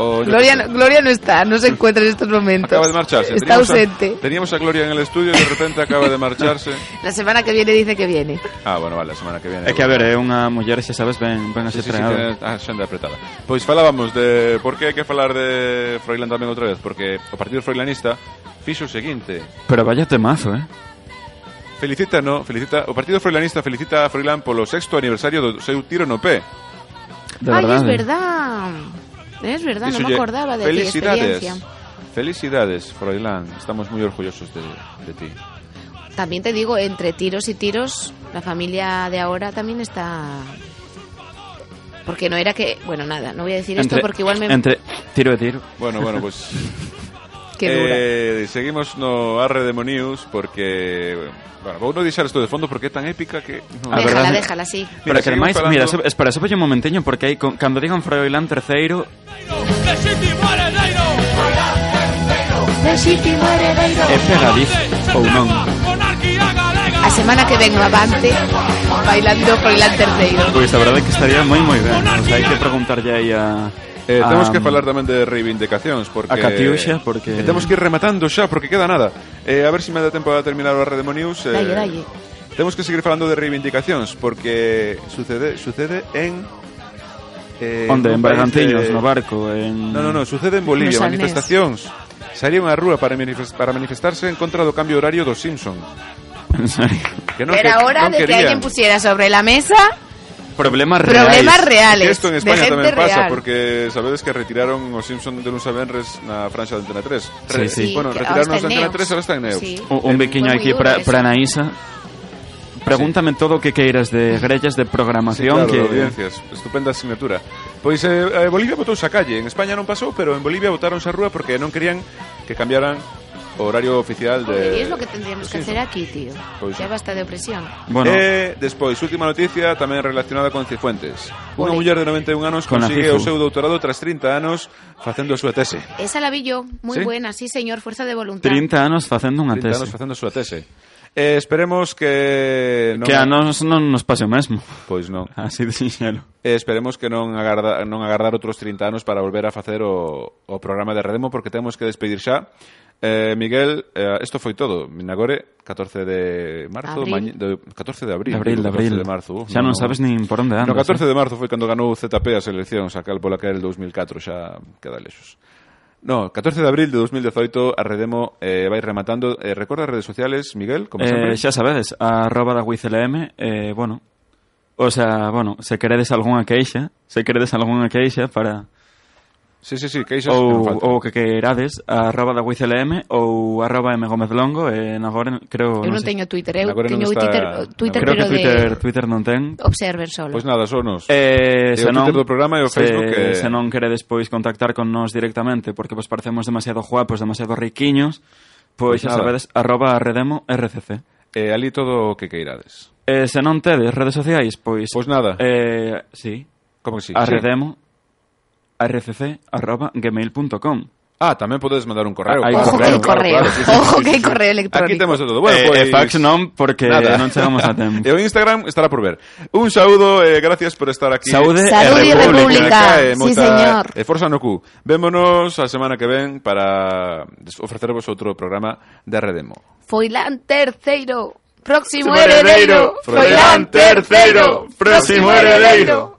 A: O yo qué
J: Gloria,
A: sé.
J: no- Gloria no está, no se encuentra en estos momentos.
A: Acaba de marcharse.
J: Está
A: Teníamos a-
J: ausente.
A: teníamos a Gloria en el estudio y de repente acaba de marcharse.
J: La semana que viene dice que viene.
A: Ah, bueno, vale, la semana que viene.
C: É que, a ver, é unha muller, se sabes, ben, ben
A: Sí, sí, sí,
C: estrenada.
A: tiene- ah, xenda apretada. Pois falábamos de por que hai que falar de Froilán tamén outra vez, porque o Partido Froilanista fixo o seguinte.
C: Pero vaya temazo, eh?
A: Felicita, no, felicita, o Partido Froilanista felicita a Froilán polo sexto aniversario do seu tiro no pé.
C: De ¿eh?
B: Ay,
C: verdade.
B: es verdad. Es verdad, no me
A: Díxolle,
B: acordaba de aquella
A: Felicidades.
B: experiencia.
A: Felicidades, Froilán. Estamos muy orgullosos de, de ti.
B: También te digo, entre tiros y tiros, la familia de ahora también está. Porque no era que. Bueno, nada, no voy a decir esto porque igual me.
C: Entre tiro e tiro.
A: Bueno, bueno, pues
B: Qué dura.
A: Eh, seguimos no arre demonios porque bueno, vou non deixar isto de fondo porque é tan épica que
C: A
A: no,
C: ver,
B: déjala,
C: verdade-
B: déjala, sí.
C: Pero que
A: seguimos
C: máis,
A: falando-
C: mira, so, espera, sopa un momentiño porque aí con- cando digan Froilán terceiro, é pegadiz ou non.
B: A semana que vengo avante, bailando por el terceiro.
A: Eh,
C: Pois a verdade é que estaría moi moi ben. O sea, hai que preguntarlle aí a
A: Eh, temos
C: a-
A: que falar tamén de reivindicacións porque
C: A Catiuxa, porque-
A: eh, temos que ir rematando xa porque queda nada. Eh, a ver se si me dá tempo a terminar o arre demonios. Eh,
B: Dalle, dalle.
A: Temos que seguir falando de reivindicacións porque sucede sucede en eh,
C: Onde,
A: un
C: en
A: país de-
C: Bergantiños, no barco, en...
A: No, no, no, sucede en Bolivia,
B: Nos Alnés.
A: manifestacións. Salían á rúa para, manifes- para manifestarse en contra do cambio horario dos Simpson.
C: En serio.
A: Que non
B: Era
A: que-
B: hora
A: non
B: de que
A: querían.
B: alguén pusiera sobre la mesa
C: Problemas reais.
B: problemas reales.
A: Que isto en
B: de
A: España
B: gente
A: tamén pasa,
B: real.
A: porque sabedes que retiraron os Simpson de Luns a Benres na franxa de Antena 3.
C: Sí, sí.
A: Bueno,
B: que
A: retiraron
B: ahora
A: os
B: está en
A: Antena
B: Neus.
A: 3, ahora está en Neus.
B: Sí.
C: Un, un biquiño
B: Fue muy
C: aquí
B: duro
C: para,
B: eso.
C: para Anaísa. Pregúntame todo o que queiras de grellas de
A: Sí,
C: programación
A: claro, de
C: que...
A: audiencias. Estupenda asignatura. Pois eh, eh, Bolivia votou a calle, en España non pasou, pero en Bolivia votaron a rúa porque non querían que cambiaran o horario oficial
B: Joder,
A: de...
B: y es lo que
A: dos
B: tendríamos que hacer
A: Simpson.
B: aquí, tío.
A: Pois
B: Ya
A: Pues sí.
B: basta de opresión.
C: Bueno,
A: E despois, última noticia tamén relacionada con Cifuentes. Unha
B: Ole.
A: muller de 91 anos
C: Con a
A: consigue o
C: Cifu.
A: seu doutorado tras 30 anos facendo a súa tese.
B: Esa la vi yo, muy
A: ¿Sí?
B: buena, sí señor, fuerza de voluntad.
C: 30 anos facendo unha
A: 30
C: tese.
A: anos facendo a súa tese. Eh, esperemos que non
C: Que a nos non nos pase o mesmo.
A: Pois non.
C: Así de sinxelo.
A: Eh, esperemos que non agarda, non agardar outros 30 anos para volver a facer o, o programa de Redemo porque temos que despedir xa. Eh, Miguel, eh, isto foi todo. Minagore, 14 de marzo, mañe-
B: Abril.
A: de, 14 de abril,
C: De abril,
A: digo,
C: de
A: 14
C: abril.
A: de marzo. Uf,
C: Xa non sabes nin por onde andas.
A: No 14
C: eh.
A: de marzo foi cando ganou o ZP as eleccións, a cal pola que era el 2004, xa queda lexos. No, 14 de abril de 2018 a Redemo eh, vai rematando. Eh, recorda as redes sociales, Miguel, como sempre.
C: Eh, xa sabedes, arroba da WizLM, eh, bueno, o sea, bueno, se queredes algunha queixa, se queredes algunha queixa para
A: Sí, sí, sí, queixas que non
C: ou,
A: faltan.
C: ou que queirades, arroba da WizLM ou arroba M Gómez Longo, eh, agora creo,
B: Eu non
C: sei,
B: teño Twitter, eu
A: Agora non
B: teño
A: está-
B: Twitter, Twitter
C: creo
B: pero
C: que Twitter,
B: de
C: Twitter non ten.
B: Observer solo.
A: Pois Pues nada, sonos. E o
C: Eh, se non,
A: Twitter do programa e o
C: se-
A: Facebook, eh.
C: se non queredes pois contactar con nós directamente porque vos parecemos demasiado guapos, demasiado riquiños,
A: Pois
C: pois xa
A: nada.
C: sabedes arroba redemo RCC.
A: Eh, ali todo o que queirades.
C: Eh, se non tedes redes sociais, pois...
A: Pois nada.
C: Eh, sí,
A: Como que sí?
C: arredemo rcc arroba gmail.com
A: Ah, tamén podedes mandar un correo.
C: Ah, hai
B: Ojo que
C: correo,
B: hai correo. Ojo que hai correo
A: Aquí
B: electrónico.
A: temos de todo. Bueno, pues- pois...
C: Eh, e fax non, porque
A: nada.
C: non chegamos a tempo.
A: E o Instagram estará por ver. Un saúdo, eh, gracias por estar aquí.
C: Saúde e
B: Saúde e República.
A: eh,
B: Sí, señor.
A: E forza no cu. Vémonos a semana que ven para des- ofrecervos outro programa de Redemo.
B: Foilán terceiro,
A: Próximo
B: próximo heredero.
A: heredero. Froilán terceiro, próximo heredero.